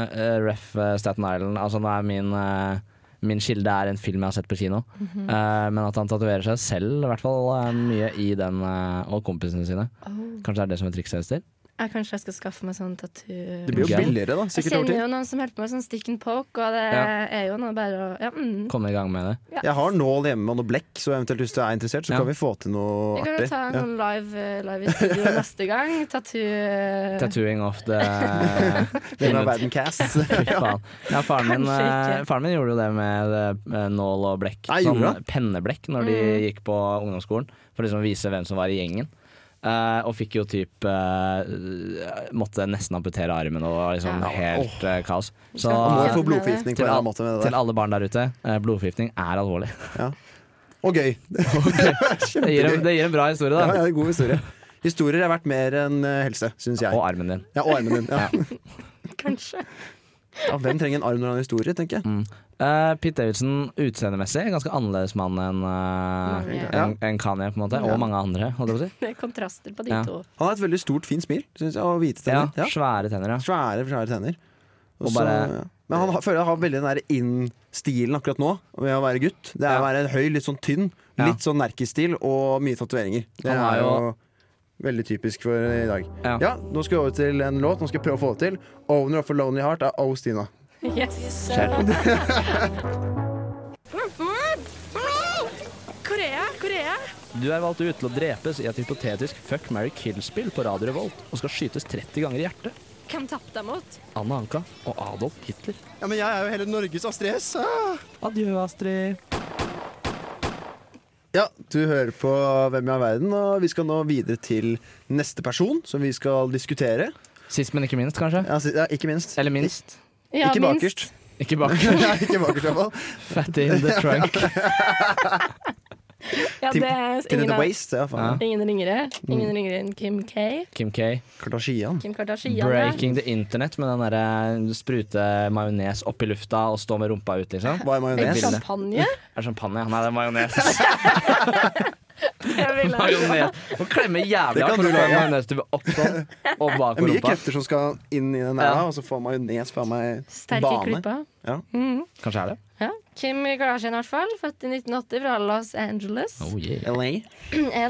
Speaker 2: eh, ref eh, Staten Island. Altså nå er min, eh, min kilde er en film jeg har sett på kino.
Speaker 4: Mhm.
Speaker 2: Eh, men at han tatoverer seg selv, i hvert fall eh, mye i den, eh, og kompisene sine.
Speaker 4: Oh.
Speaker 2: Kanskje det er det som er trikset hennes til?
Speaker 4: Jeg Kanskje jeg skal skaffe meg sånn tattoo.
Speaker 3: Det blir jo
Speaker 2: Ok.
Speaker 3: billigere, da.
Speaker 4: Jeg
Speaker 3: Sikkert over
Speaker 4: kjenner
Speaker 3: tid.
Speaker 4: jo noen som holder på med sånn stick and poke, og det
Speaker 2: Ja.
Speaker 4: er jo noe bare å ja, mm.
Speaker 2: Komme i gang med det.
Speaker 3: Jeg har nål hjemme og noe blekk, så eventuelt hvis du er interessert, så
Speaker 2: Ja.
Speaker 3: kan vi få til noe
Speaker 4: Vi kan jo
Speaker 3: artig.
Speaker 4: ta en
Speaker 3: Ja.
Speaker 4: sånn live, eh, live i studio neste gang. Tattoo
Speaker 2: Tattooing of the
Speaker 3: Hvem er verden cast?
Speaker 2: Fy faen. Ja, faren min,
Speaker 4: Kanskje ikke.
Speaker 2: eh, faren min gjorde jo det med eh, nål og blekk. sånn
Speaker 3: Nei, gjorde han?
Speaker 2: penneblekk når de
Speaker 4: Mm.
Speaker 2: gikk på ungdomsskolen, for liksom å vise hvem som var i gjengen. Eh, og fikk jo typ eh, Måtte nesten amputere armen og var liksom
Speaker 4: Ja.
Speaker 2: helt eh, kaos. Så
Speaker 4: Skal
Speaker 3: Må
Speaker 4: Ja.
Speaker 3: få blodforgiftning på en
Speaker 2: til,
Speaker 3: eller
Speaker 2: al
Speaker 3: annen måte med det
Speaker 2: til
Speaker 3: der.
Speaker 2: alle barn der ute, eh, blodforgiftning er alvorlig.
Speaker 3: Og gøy.
Speaker 2: Det gir, en,
Speaker 3: Kjempegøy.
Speaker 2: det gir en bra historie,
Speaker 3: Ja,
Speaker 2: da.
Speaker 3: ja, det er god historie. Historier er verdt mer enn eh, helse, syns jeg.
Speaker 2: Og armen din.
Speaker 3: Ja, og armen din. Ja.
Speaker 4: Kanskje.
Speaker 3: Ja, hvem trenger en arm når han har en historie, tenker jeg.
Speaker 2: Eh, Pete Davidson utseendemessig ganske annerledes mann enn eh,
Speaker 4: Mange.
Speaker 2: enn- enn Kanye, på en måte. Og
Speaker 3: Ja.
Speaker 2: mange andre, holdt jeg på å si.
Speaker 4: Det er kontraster på de
Speaker 2: Ja.
Speaker 4: to.
Speaker 3: Han har et veldig stort, fint smil, syns jeg, og hvite
Speaker 2: Ja,
Speaker 3: tenner. Ja.
Speaker 2: svære tenner, ja.
Speaker 3: Svære, svære tenner. Og
Speaker 2: Og
Speaker 3: så-
Speaker 2: bare-
Speaker 3: ja. Men han har, føler jeg har veldig den der inn-stilen akkurat nå, med å være gutt. Det er å
Speaker 2: Ja.
Speaker 3: være høy, litt sånn tynn,
Speaker 2: Ja.
Speaker 3: litt sånn nerkestil og mye tatoveringer. Det
Speaker 2: Han har
Speaker 3: er
Speaker 2: jo-
Speaker 3: jo veldig typisk for i dag. Ja.
Speaker 2: Ja.
Speaker 3: nå skal vi over til en låt. Nå skal jeg prøve å få det til. 'Owner of a Lonely Heart' av O. Stina.
Speaker 4: Yes. Korea, Korea.
Speaker 1: Du er valgt ut til å drepes i et hypotetisk fuck, marry, kill-spill på Radio Revolt og skal skytes 30 ganger i hjertet.
Speaker 4: Hvem tapte jeg mot?
Speaker 1: Anna Anka og Adolf Hitler.
Speaker 3: Ja, men jeg er jo hele Norges Astrid S.
Speaker 2: Adjø, Astrid.
Speaker 3: Ja, du hører på Hvem i all verden, og vi skal nå videre til neste person, som vi skal diskutere.
Speaker 2: Sist, men ikke minst, kanskje?
Speaker 3: Ja, si- ja, ikke minst.
Speaker 2: Eller minst.
Speaker 4: Ja,
Speaker 3: ikke
Speaker 4: minst.
Speaker 3: bakerst.
Speaker 2: Ikke bak.
Speaker 3: Nei, ikke bakerst, i hvert fall.
Speaker 2: Fatty in the trunk.
Speaker 4: Ja,
Speaker 3: Tim-
Speaker 4: det er
Speaker 3: Til in
Speaker 4: ingen,
Speaker 3: the
Speaker 4: av-
Speaker 3: waist. Ja, Mm. faen.
Speaker 4: ingen ringere. Ingen ringere enn Kim K.
Speaker 2: Kim K.
Speaker 3: Kardashian.
Speaker 4: Kim Kardashian. ja.
Speaker 2: Breaking the internet med den derre eh, sprute majones opp i lufta og stå med rumpa ut, liksom.
Speaker 3: Hva er
Speaker 4: Eller
Speaker 3: majones?
Speaker 2: Bilde.
Speaker 4: champagne.
Speaker 2: Er det champagne? Nei, det er majones.
Speaker 4: Jeg vil ha-
Speaker 2: Majones. Må klemme jævlig
Speaker 3: Det kan
Speaker 2: hardt for
Speaker 3: du
Speaker 2: å få
Speaker 3: lage.
Speaker 2: majonestube opp sånn,
Speaker 3: Det
Speaker 2: og bak
Speaker 3: er
Speaker 2: på
Speaker 3: mye
Speaker 2: rumpa.
Speaker 3: krefter som skal inn i den der,
Speaker 2: Ja.
Speaker 3: og så får majones fra meg
Speaker 4: Sterke
Speaker 3: bane.
Speaker 4: klipper. Mm.
Speaker 3: Ja.
Speaker 2: Kanskje er det?
Speaker 4: Ja. Kim Kardashian, i hvert fall. Født i 1980 fra Los Angeles.
Speaker 1: Oh, yeah.
Speaker 3: LA.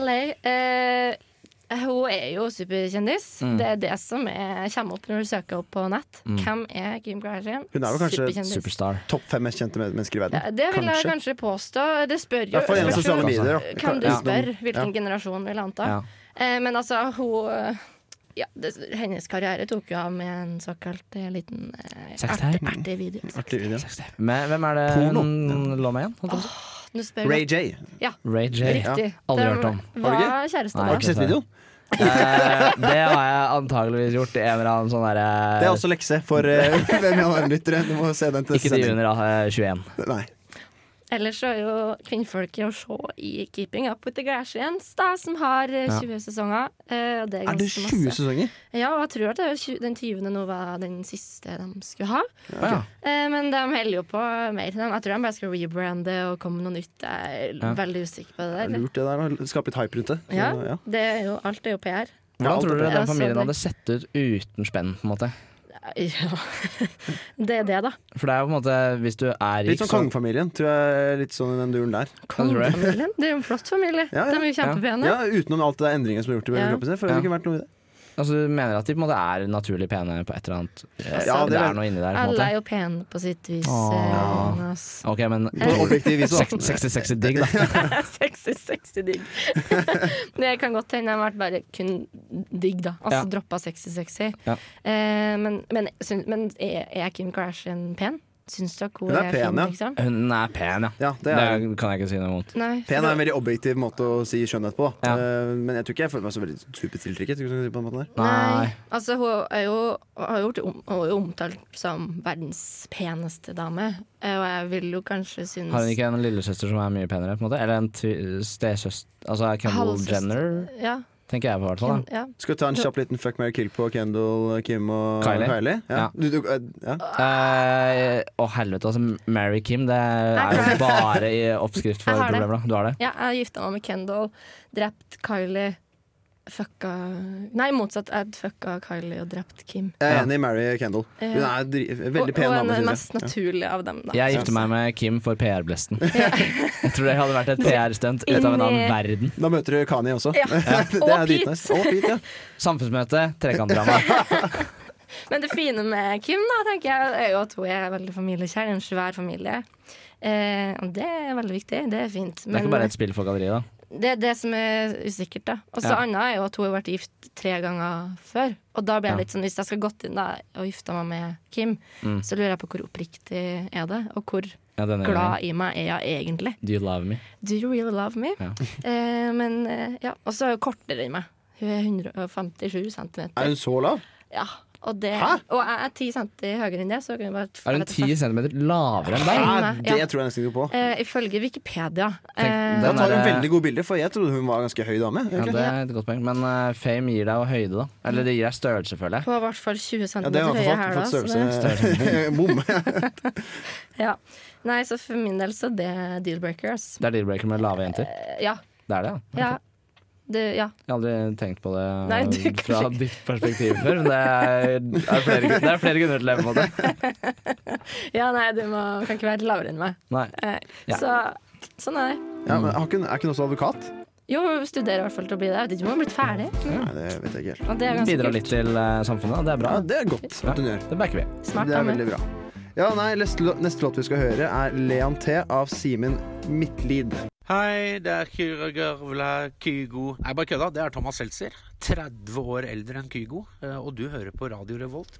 Speaker 4: LA. Eh, hun er jo superkjendis.
Speaker 3: Mm.
Speaker 4: Det er det som er, kommer opp når du søker opp på nett. Hvem er Kim Kardashian?
Speaker 3: Hun er jo kanskje
Speaker 2: Superstar.
Speaker 3: Topp fem mest kjente men- mennesker i verden.
Speaker 4: Ja, det vil jeg kanskje påstå. Det spør
Speaker 3: I
Speaker 4: jo
Speaker 3: hvert fall gjennom
Speaker 4: spørs jo
Speaker 3: sosiale medier. da.
Speaker 4: Hvem du
Speaker 3: Ja.
Speaker 4: spør, hvilken
Speaker 3: Ja.
Speaker 4: generasjon vil anta.
Speaker 2: Ja.
Speaker 4: Eh, men altså, hun eh, ja, det, Hennes karriere tok jo av med en såkalt eh, liten eh,
Speaker 2: Sextape.
Speaker 4: erte- ertevideo.
Speaker 3: Artig video.
Speaker 2: Men hvem er det
Speaker 3: Porno.
Speaker 2: hun lå med igjen? holdt jeg på å si?
Speaker 4: Nå spør
Speaker 3: Ray
Speaker 4: jeg-
Speaker 3: J.
Speaker 2: Ray J.
Speaker 4: Riktig.
Speaker 2: Aldri
Speaker 4: De
Speaker 2: hørt om.
Speaker 3: Har
Speaker 4: Var
Speaker 3: du
Speaker 4: kjæreste
Speaker 2: Nei.
Speaker 3: Har du
Speaker 4: da.
Speaker 3: ikke sett videoen?
Speaker 2: Eh, det har jeg antageligvis gjort i en eller annen sånn derre
Speaker 3: Det er også lekse for eh, hvem jeg har lyttere. Du må se den til
Speaker 2: Ikke de under eh, 21.
Speaker 3: Nei.
Speaker 4: Ellers så er jo kvinnfolket å se i Keeping Up With The Kardashians, da, som har eh,
Speaker 2: Ja.
Speaker 4: 20 sesonger. Eh, og det er,
Speaker 3: Er det
Speaker 4: ganske
Speaker 3: 20
Speaker 4: masse.
Speaker 3: sesonger?
Speaker 4: Ja, og jeg tror at det er 20, den 20. nå var den siste de skulle ha.
Speaker 2: Ja.
Speaker 4: Eh, men de holder jo på mer til dem. Jeg tror de bare skal rebrande og komme med noe nytt. Jeg er
Speaker 2: Ja.
Speaker 4: veldig usikker på det
Speaker 3: Det er
Speaker 4: der.
Speaker 3: lurt det der, å skape litt hype rundt det. Så,
Speaker 4: Ja,
Speaker 3: ja.
Speaker 4: det er jo, alt er jo PR.
Speaker 3: Ja,
Speaker 2: Hvordan
Speaker 3: alt
Speaker 2: tror
Speaker 3: er
Speaker 2: dere
Speaker 4: bra.
Speaker 2: den familien
Speaker 4: Ja, så det-
Speaker 2: hadde sett ut uten spenn? på en måte?
Speaker 4: Ja. det er det, da.
Speaker 2: For det er jo på en måte, hvis du er
Speaker 3: Litt
Speaker 2: rik,
Speaker 3: sånn Kongefamilien, tror jeg. Litt sånn i den duren der.
Speaker 4: Kongefamilien. Det er jo en flott familie.
Speaker 3: Ja, ja.
Speaker 4: De er jo kjempepene.
Speaker 3: Ja, Utenom alt det der endringen som er gjort i
Speaker 4: Ja.
Speaker 3: kroppen sin. Føler det
Speaker 2: Ja.
Speaker 3: ikke vært noe i det.
Speaker 2: Altså, du mener at de på en måte er naturlig pene på et eller annet eh,
Speaker 3: Ja,
Speaker 2: det,
Speaker 3: det
Speaker 2: er noe inni der, på en
Speaker 4: Alle er
Speaker 2: måte.
Speaker 4: jo pene på sitt vis.
Speaker 2: Åh.
Speaker 4: eh, Jonas.
Speaker 2: Ok, men
Speaker 3: På objektiv vis, da.
Speaker 2: Seks- 60-60 digg, da.
Speaker 4: Sexy, sexy digg. det kan godt hende jeg har vært bare kun digg, da. Altså
Speaker 2: Ja.
Speaker 4: droppa sexy, sexy.
Speaker 2: Ja.
Speaker 4: Eh, men, men, syn- men er, er Kim Kardashian pen? Syns dere hun
Speaker 3: Hun er
Speaker 4: er,
Speaker 3: pen,
Speaker 4: fin,
Speaker 3: ja.
Speaker 4: liksom?
Speaker 2: Hun er pen, ja.
Speaker 3: Ja,
Speaker 2: Det
Speaker 3: det er
Speaker 2: kan jeg ikke si noe imot.
Speaker 4: Nei.
Speaker 3: Pen er en veldig objektiv måte å si skjønnhet på.
Speaker 2: Ja.
Speaker 3: Eh, Men jeg tror ikke jeg føler meg så veldig supertiltrykket. hvis du kan si det på den måten der.
Speaker 4: Nei.
Speaker 2: Nei.
Speaker 4: Altså, hun er jo, har jo, vært om, hun er jo omtalt som verdens peneste dame, eh, og jeg vil jo kanskje synes
Speaker 2: Har hun ikke en lillesøster som er mye penere? på en måte? Eller en tvi- stesøster Altså Kendall
Speaker 4: Halvsøster.
Speaker 2: Jenner,
Speaker 4: Ja.
Speaker 2: tenker jeg på. hvert fall da.
Speaker 4: Kim, ja.
Speaker 3: Skal vi ta en kjapp liten fuck, marry, kill på Kendal, eh, Kim og
Speaker 2: Kylie?
Speaker 3: Kylie?
Speaker 2: Ja.
Speaker 3: Ja. Du, du, eh, ja.
Speaker 2: Eh, Å helvete, altså. Mary Kim, det er jo bare i oppskrift for
Speaker 4: Jeg har det.
Speaker 2: problemer. da. Du har det?
Speaker 4: ja, jeg gifta meg med Kendall, drept Kylie, fucka Nei, motsatt. Jeg fucka Kylie og drept Kim.
Speaker 3: Jeg
Speaker 2: Ja.
Speaker 3: er enig i Mary Kendal. Hun
Speaker 4: Ja.
Speaker 3: er dri veldig pen
Speaker 4: Eh, og,
Speaker 3: dame,
Speaker 4: og den
Speaker 3: syns
Speaker 4: mest
Speaker 3: jeg. Ja. Sånn.
Speaker 4: naturlige av dem, da.
Speaker 2: Jeg gifter meg med Kim for PR-blesten. Jeg tror det hadde vært et PR-stunt ut av en annen verden.
Speaker 3: Da møter du Kani også.
Speaker 4: Ja.
Speaker 3: Det
Speaker 4: Og
Speaker 3: er altså.
Speaker 4: Pete.
Speaker 3: dritnice. Og Pete, ja.
Speaker 2: Samfunnsmøte, trekantdrama.
Speaker 4: Men det fine med Kim da, tenker jeg, er jo at hun er veldig familiekjær. En svær familie. Eh, og det er veldig viktig. Det er fint.
Speaker 2: Det er ikke bare et spill for galleriet, da.
Speaker 4: Det er det som er usikkert, da. Og så
Speaker 2: Ja.
Speaker 4: annet er jo at hun har vært gift tre ganger før. Og da blir
Speaker 2: Ja.
Speaker 4: jeg litt sånn, hvis jeg skal gått inn da og gifta meg med Kim,
Speaker 2: Mm.
Speaker 4: så lurer jeg på hvor oppriktig er det, og hvor
Speaker 2: Ja, denne gangen.
Speaker 4: glad i meg er jeg egentlig.
Speaker 2: Do you love me?
Speaker 4: Do you really love me?
Speaker 2: Ja.
Speaker 4: Eh, men eh, ja, Og så er hun kortere enn meg. Hun er 157
Speaker 3: Er
Speaker 4: cm.
Speaker 3: hun så lav?
Speaker 4: Ja, og, det,
Speaker 3: Hæ?
Speaker 4: og jeg er 10 cm høyere enn det. Så kan jeg bare
Speaker 2: Er hun 10 cm lavere enn deg?
Speaker 3: Nei,
Speaker 4: Nei, ja.
Speaker 3: det tror jeg nesten ikke på.
Speaker 4: Eh, ifølge Wikipedia.
Speaker 2: Tenk,
Speaker 4: Eh,
Speaker 3: Da
Speaker 2: den
Speaker 3: tar hun
Speaker 2: er, eh,
Speaker 3: veldig gode bilder, for jeg trodde hun var en ganske høy dame.
Speaker 2: Ja,
Speaker 3: egentlig.
Speaker 2: det er et godt poeng. Men eh, fame gir deg jo høyde, da. Eller det gir deg størrelse, føler jeg.
Speaker 4: på i hvert fall 20 cm
Speaker 3: Ja, det har i
Speaker 4: høye
Speaker 3: hvert fall
Speaker 4: hæler.
Speaker 3: fått
Speaker 4: så det-
Speaker 3: størrelse Bom.
Speaker 4: Ja. Nei, så for min del så det er deal-breakers.
Speaker 2: Det er deal-breaker med lave jenter.
Speaker 4: Eh, Ja.
Speaker 2: Det er det, ja.
Speaker 4: ja. Det, ja.
Speaker 2: Jeg har aldri tenkt på det
Speaker 4: Nei, du kan
Speaker 2: fra
Speaker 4: ikke.
Speaker 2: ditt perspektiv før, men det er, er flere, grunn- det er flere grunner til det. på en måte.
Speaker 4: ja, nei, du må, kan ikke være lavere enn meg.
Speaker 2: Nei.
Speaker 4: Eh,
Speaker 2: Ja.
Speaker 4: Så sånn er det.
Speaker 3: Ja, men har ikke hun- er ikke hun også advokat?
Speaker 4: Jo, studerer i hvert fall til å bli det. Jeg vet ikke om jeg har blitt ferdig.
Speaker 3: Nei, det vet jeg ikke helt.
Speaker 4: Og det er ganske
Speaker 2: Bidrar
Speaker 4: kult.
Speaker 2: litt til eh, samfunnet, og det er bra.
Speaker 3: Ja, det er godt at hun gjør.
Speaker 2: Det backer vi.
Speaker 4: Smart
Speaker 3: Det er
Speaker 4: dame.
Speaker 3: veldig bra. Ja, nei, neste, lå- neste låt vi skal høre, er Leon T av Simen Midtlid.
Speaker 9: Hei, det er Kyrager Vla Kygo. Nei, bare kødda. Det er Thomas Seltzer. 30 år eldre enn Kygo. eh, Og du hører på Radio Revolt.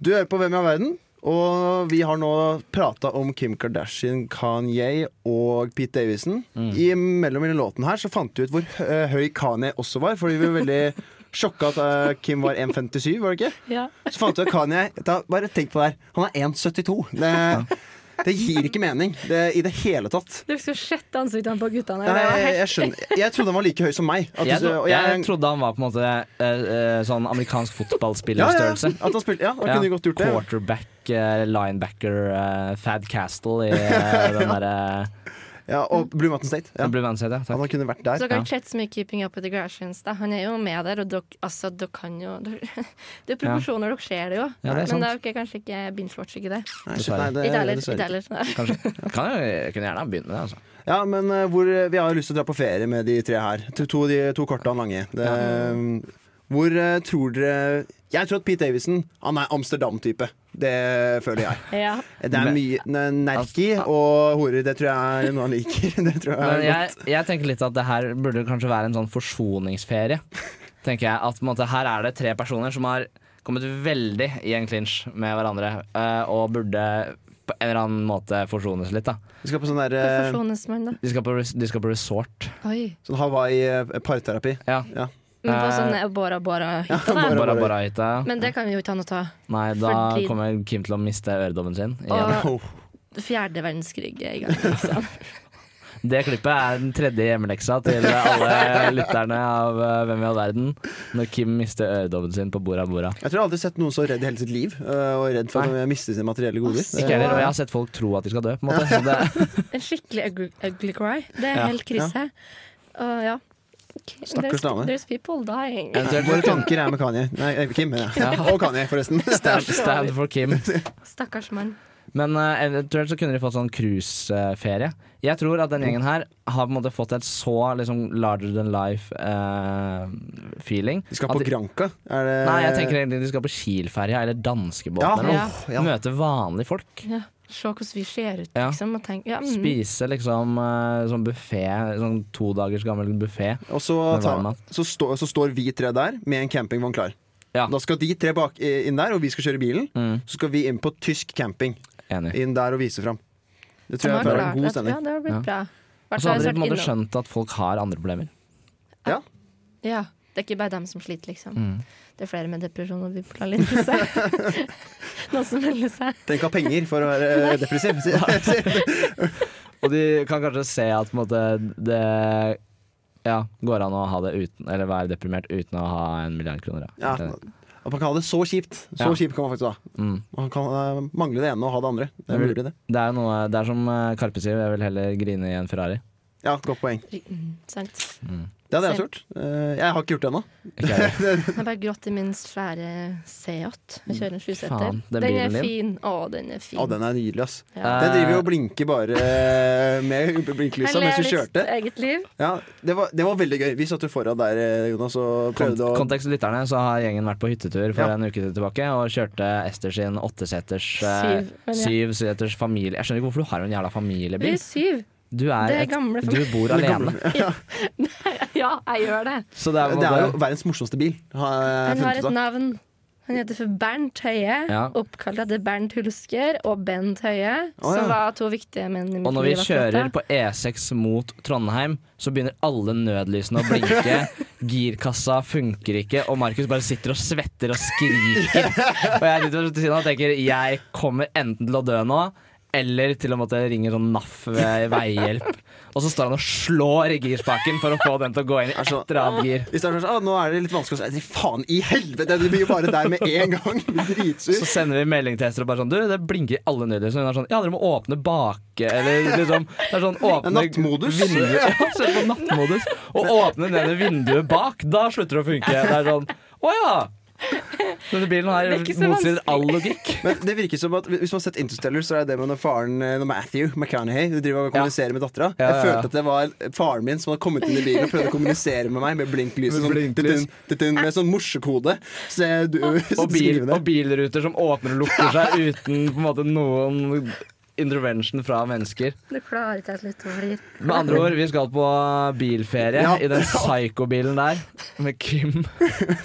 Speaker 3: Du hører på Hvem i all verden? Og vi har nå prata om Kim Kardashian, Kanye og Pete Davison.
Speaker 2: Mm.
Speaker 3: I mellom denne låten her så fant vi ut hvor hø- eh, høy Kanye også var, fordi vi var veldig sjokka at eh, Kim var 1,57, var det ikke?
Speaker 4: Ja.
Speaker 3: Så fant jeg ut Kanye da, Bare tenk på det her. Han er 1,72. Det, det gir ikke mening det, i det hele tatt.
Speaker 4: Du skulle sett ansiktene på guttene.
Speaker 3: Jeg,
Speaker 4: Det var
Speaker 3: jeg,
Speaker 4: helt
Speaker 3: jeg, skjønner. jeg trodde han var like høy som meg. At,
Speaker 2: Jeg,
Speaker 3: du-
Speaker 2: tro,
Speaker 3: og
Speaker 2: jeg
Speaker 3: jeg-
Speaker 2: trodde han var på en måte eh, eh, sånn
Speaker 3: ja,
Speaker 2: amerikansk
Speaker 3: ja,
Speaker 2: fotballspillerstørrelse.
Speaker 3: at han spilte, ja, han kunne godt gjort det.
Speaker 2: Quarterback, eh, linebacker, eh, Thad Castle i eh, den derre
Speaker 3: Ja, og Blue Mountain State. Ja.
Speaker 2: Det blir vanskelig, ja.
Speaker 3: At
Speaker 2: Takk.
Speaker 3: han kunne vært
Speaker 4: Så
Speaker 3: der.
Speaker 4: dere har ikke sett så mye Keeping Up With The Kardashians. Da. Han er jo med der, og dere, altså, dere kan jo dere- Det er proporsjoner dere ser det jo.
Speaker 2: Ja, det er sant.
Speaker 4: Men dere er kanskje ikke binge-watch ikke det.
Speaker 3: Nei, shit, nei, det-
Speaker 4: Ikke
Speaker 3: dessverre ikke.
Speaker 4: heller. Nei.
Speaker 2: Kanskje. Kan jo, jeg kunne gjerne ha begynt med det, altså.
Speaker 3: Ja, men eh, hvor, vi har jo lyst til å dra på ferie med de tre her. To, to, de, to korte og en lange. Det, Hvor eh, tror dere Jeg tror at Pete Davison han er Amsterdam-type. Det føler jeg.
Speaker 4: Ja.
Speaker 3: Det er mye ne- nerki og horer. Det tror jeg er noe han liker. Det tror jeg
Speaker 2: Men
Speaker 3: er
Speaker 2: jeg, jeg tenker litt at det her burde kanskje være en sånn forsoningsferie. Tenker jeg at på en måte, Her er det tre personer som har kommet veldig i en clinch med hverandre, eh, og burde på en eller annen måte forsones litt. da
Speaker 3: Vi skal på sånn der
Speaker 4: Hvor
Speaker 3: eh,
Speaker 4: forsones man, da?
Speaker 2: De skal på, res de skal på resort.
Speaker 4: Oi.
Speaker 3: sånn Hawaii-parterapi.
Speaker 2: Ja.
Speaker 3: Ja.
Speaker 4: Men på
Speaker 2: Eh,
Speaker 4: sånne Bora Bora-hytta, da.
Speaker 3: Bora
Speaker 2: Bara
Speaker 3: Bora.
Speaker 2: Bara hytta.
Speaker 4: Men det kan vi jo ikke an å ta.
Speaker 2: Nei, da
Speaker 4: fordi-
Speaker 2: kommer Kim til å miste øredommen sin. Igjen.
Speaker 4: Og fjerde verdenskrig er i gang. Liksom.
Speaker 2: Det klippet er den tredje hjemmeleksa til alle lytterne av eh, Hvem i all verden. Når Kim mister øredommen sin på Bora Bora.
Speaker 3: Jeg tror jeg aldri har sett noen så redd i hele sitt liv. eh, Og redd for å miste sine materielle goder.
Speaker 2: Ikke heller, og jeg har sett folk tro at de skal dø, på en måte. Så det,
Speaker 4: En skikkelig ugly, ugly cry. Det er
Speaker 2: Ja.
Speaker 4: helt krise. Og ja. There's,
Speaker 3: Stakkars dame.
Speaker 4: there's people dying.
Speaker 3: Våre tanker er med Kanye. Nei, eh, Kim. mener jeg. Og Kanye, forresten.
Speaker 2: Stand for Kim.
Speaker 4: Stakkars mann.
Speaker 2: Men eh, eventuelt så kunne de fått sånn cruiseferie. Jeg tror at den gjengen her har på en måte fått et så liksom larger than eh, life-feeling.
Speaker 3: De skal på Granka. Er det
Speaker 2: Nei, jeg tenker egentlig de skal på Kielferja eller danskebåten
Speaker 3: Ja,
Speaker 2: eller noe.
Speaker 3: åh, ja.
Speaker 2: Møte vanlige folk.
Speaker 4: Ja. Se hvordan vi ser ut,
Speaker 2: Ja.
Speaker 4: liksom. Og tenk, ja, mm.
Speaker 2: Spise liksom eh, sånn buffé, sånn to dagers gammel buffé.
Speaker 3: Og så,
Speaker 2: Med
Speaker 3: tar,
Speaker 2: varmmat.
Speaker 3: så, stå, så står vi tre der med en campingvogn klar.
Speaker 2: Ja.
Speaker 3: Da skal de tre bak, eh, inn der, og vi skal kjøre bilen.
Speaker 2: Mm,
Speaker 3: Så skal vi inn på tysk camping.
Speaker 2: enig.
Speaker 3: Inn der og vise fram. Det
Speaker 4: De
Speaker 3: tror
Speaker 4: har
Speaker 3: jeg er
Speaker 4: klart
Speaker 3: en god
Speaker 4: det, tror jeg.
Speaker 3: stemning.
Speaker 4: Det har
Speaker 2: Ja.
Speaker 4: blitt bra.
Speaker 2: Og
Speaker 4: Hvertfall
Speaker 2: så hadde de
Speaker 4: har jeg
Speaker 2: på en måte
Speaker 4: vært innom-
Speaker 2: skjønt at folk har andre problemer.
Speaker 3: Ja.
Speaker 4: Ja. Det er ikke bare dem som sliter, liksom.
Speaker 2: Mm.
Speaker 4: Det er flere med depresjon og bipolar lidelse. Noen som melder seg.
Speaker 3: Tenk å ha penger for å være eh, depressiv. sier-
Speaker 2: Og de kan kanskje se at på en måte, det ja, går an å ha det uten, eller være deprimert uten å ha en milliard kroner.
Speaker 3: ja.
Speaker 2: Ja.
Speaker 3: At man kan ha det så kjipt. Så
Speaker 2: Ja.
Speaker 3: kjipt kan man faktisk ha.
Speaker 2: Mm.
Speaker 3: Man kan eh, mangle det ene og ha det andre. Det er
Speaker 2: Mm.
Speaker 3: mulig, det.
Speaker 2: Det er, noe, det er som eh, Karpe sier, jeg vil heller grine i en Ferrari.
Speaker 3: Ja, godt poeng.
Speaker 4: Mm, sant.
Speaker 3: Det hadde jeg også gjort. Eh, jeg har ikke gjort det ennå.
Speaker 2: Ikke jeg heller.
Speaker 4: Jeg har bare grått i min svære Seat. Jeg kjører en sjuseter.
Speaker 2: Faen, den
Speaker 4: Den
Speaker 2: bilen
Speaker 4: er
Speaker 2: din.
Speaker 4: fin. Å, den er fin.
Speaker 3: Å, den er nydelig, ass.
Speaker 4: Mm. Ja.
Speaker 3: Den driver jo og blinker bare eh, med
Speaker 4: Jeg
Speaker 3: blinklysa
Speaker 4: ler
Speaker 3: mens du
Speaker 4: litt
Speaker 3: kjørte.
Speaker 4: eget liv.
Speaker 3: Ja, det var, det var veldig gøy. Vi satt jo foran der, eh, Jonas, og
Speaker 2: Kont
Speaker 3: prøvde å
Speaker 2: kontekst lytterne, så har gjengen vært på hyttetur for
Speaker 3: Ja.
Speaker 2: en uke tilbake og kjørte Ester sin åtteseters eh,
Speaker 4: Syv, men ja.
Speaker 2: Syvseters familie. Jeg skjønner ikke hvorfor du har en jævla
Speaker 4: Vi
Speaker 2: familiebil.
Speaker 4: er syv.
Speaker 2: Du, er
Speaker 4: det er
Speaker 2: et,
Speaker 4: gamle
Speaker 2: du
Speaker 4: familie.
Speaker 2: bor
Speaker 3: Det er
Speaker 2: alene.
Speaker 4: Ja, jeg gjør det.
Speaker 2: Så det er, på en
Speaker 3: Det er
Speaker 2: måte-
Speaker 3: jo verdens morsomste bil, har jeg
Speaker 4: Han har
Speaker 3: funnet
Speaker 4: et
Speaker 3: ut av.
Speaker 4: navn. Han heter for Bernt Høie,
Speaker 2: Eh, Ja.
Speaker 4: oppkalt etter Bernt Hulsker og Bent Høie,
Speaker 3: Å, ja.
Speaker 4: som var to viktige menn i mitt liv.
Speaker 2: Og når vi
Speaker 4: akkurat da.
Speaker 2: kjører på E6 mot Trondheim, så begynner alle nødlysene å blinke. Girkassa funker ikke, og Markus bare sitter og svetter og skriker. Og jeg sitter ved siden av og tenker jeg kommer enten til å dø nå, eller til å måtte ringe sånn NAF ved veihjelp. Og så står han og slår i girspaken for å få den til å gå inn i et eller annet gir.
Speaker 3: Hvis det er sånn, ah, nå er det litt vanskelig å si Faen i helvete, det blir jo bare der med en gang! Jeg blir
Speaker 2: Så
Speaker 3: Dritsur.
Speaker 2: sender vi melding til Ester og bare sånn Du, det blinker i alle nødlysene. Hun er sånn Ja, dere må åpne bak Eller liksom Det er sånn åpne
Speaker 3: Nattmodus.
Speaker 2: vinduet Ja, så er det på nattmodus. Og åpne nede vinduet bak. Da slutter det å funke. Det er sånn Å ja! Denne bilen her
Speaker 4: Det er ikke så
Speaker 2: motsier all logikk.
Speaker 3: Men det virker som at Hvis man har sett Interstellar, så er det det med når faren eh, når Matthew McConaughey du driver og
Speaker 2: Ja.
Speaker 3: kommuniserer med dattera.
Speaker 2: Ja,
Speaker 3: Jeg
Speaker 2: ja, ja.
Speaker 3: følte at det var faren min som hadde kommet inn i bilen og prøvde å kommunisere med meg med blinklyset.
Speaker 2: Med
Speaker 3: Sånn,
Speaker 2: blinklys.
Speaker 3: «Tutun, tutun», med sånn morsekode. Så jeg, du,
Speaker 2: Og, bil,
Speaker 3: skriver det.
Speaker 2: og bilruter som åpner og lukker seg uten på en måte noen intervention fra mennesker.
Speaker 4: Du klarer ikke helt litt over det.
Speaker 2: Med andre ord, vi skal på bilferie
Speaker 3: Ja.
Speaker 2: i den psykobilen der. Med Kim,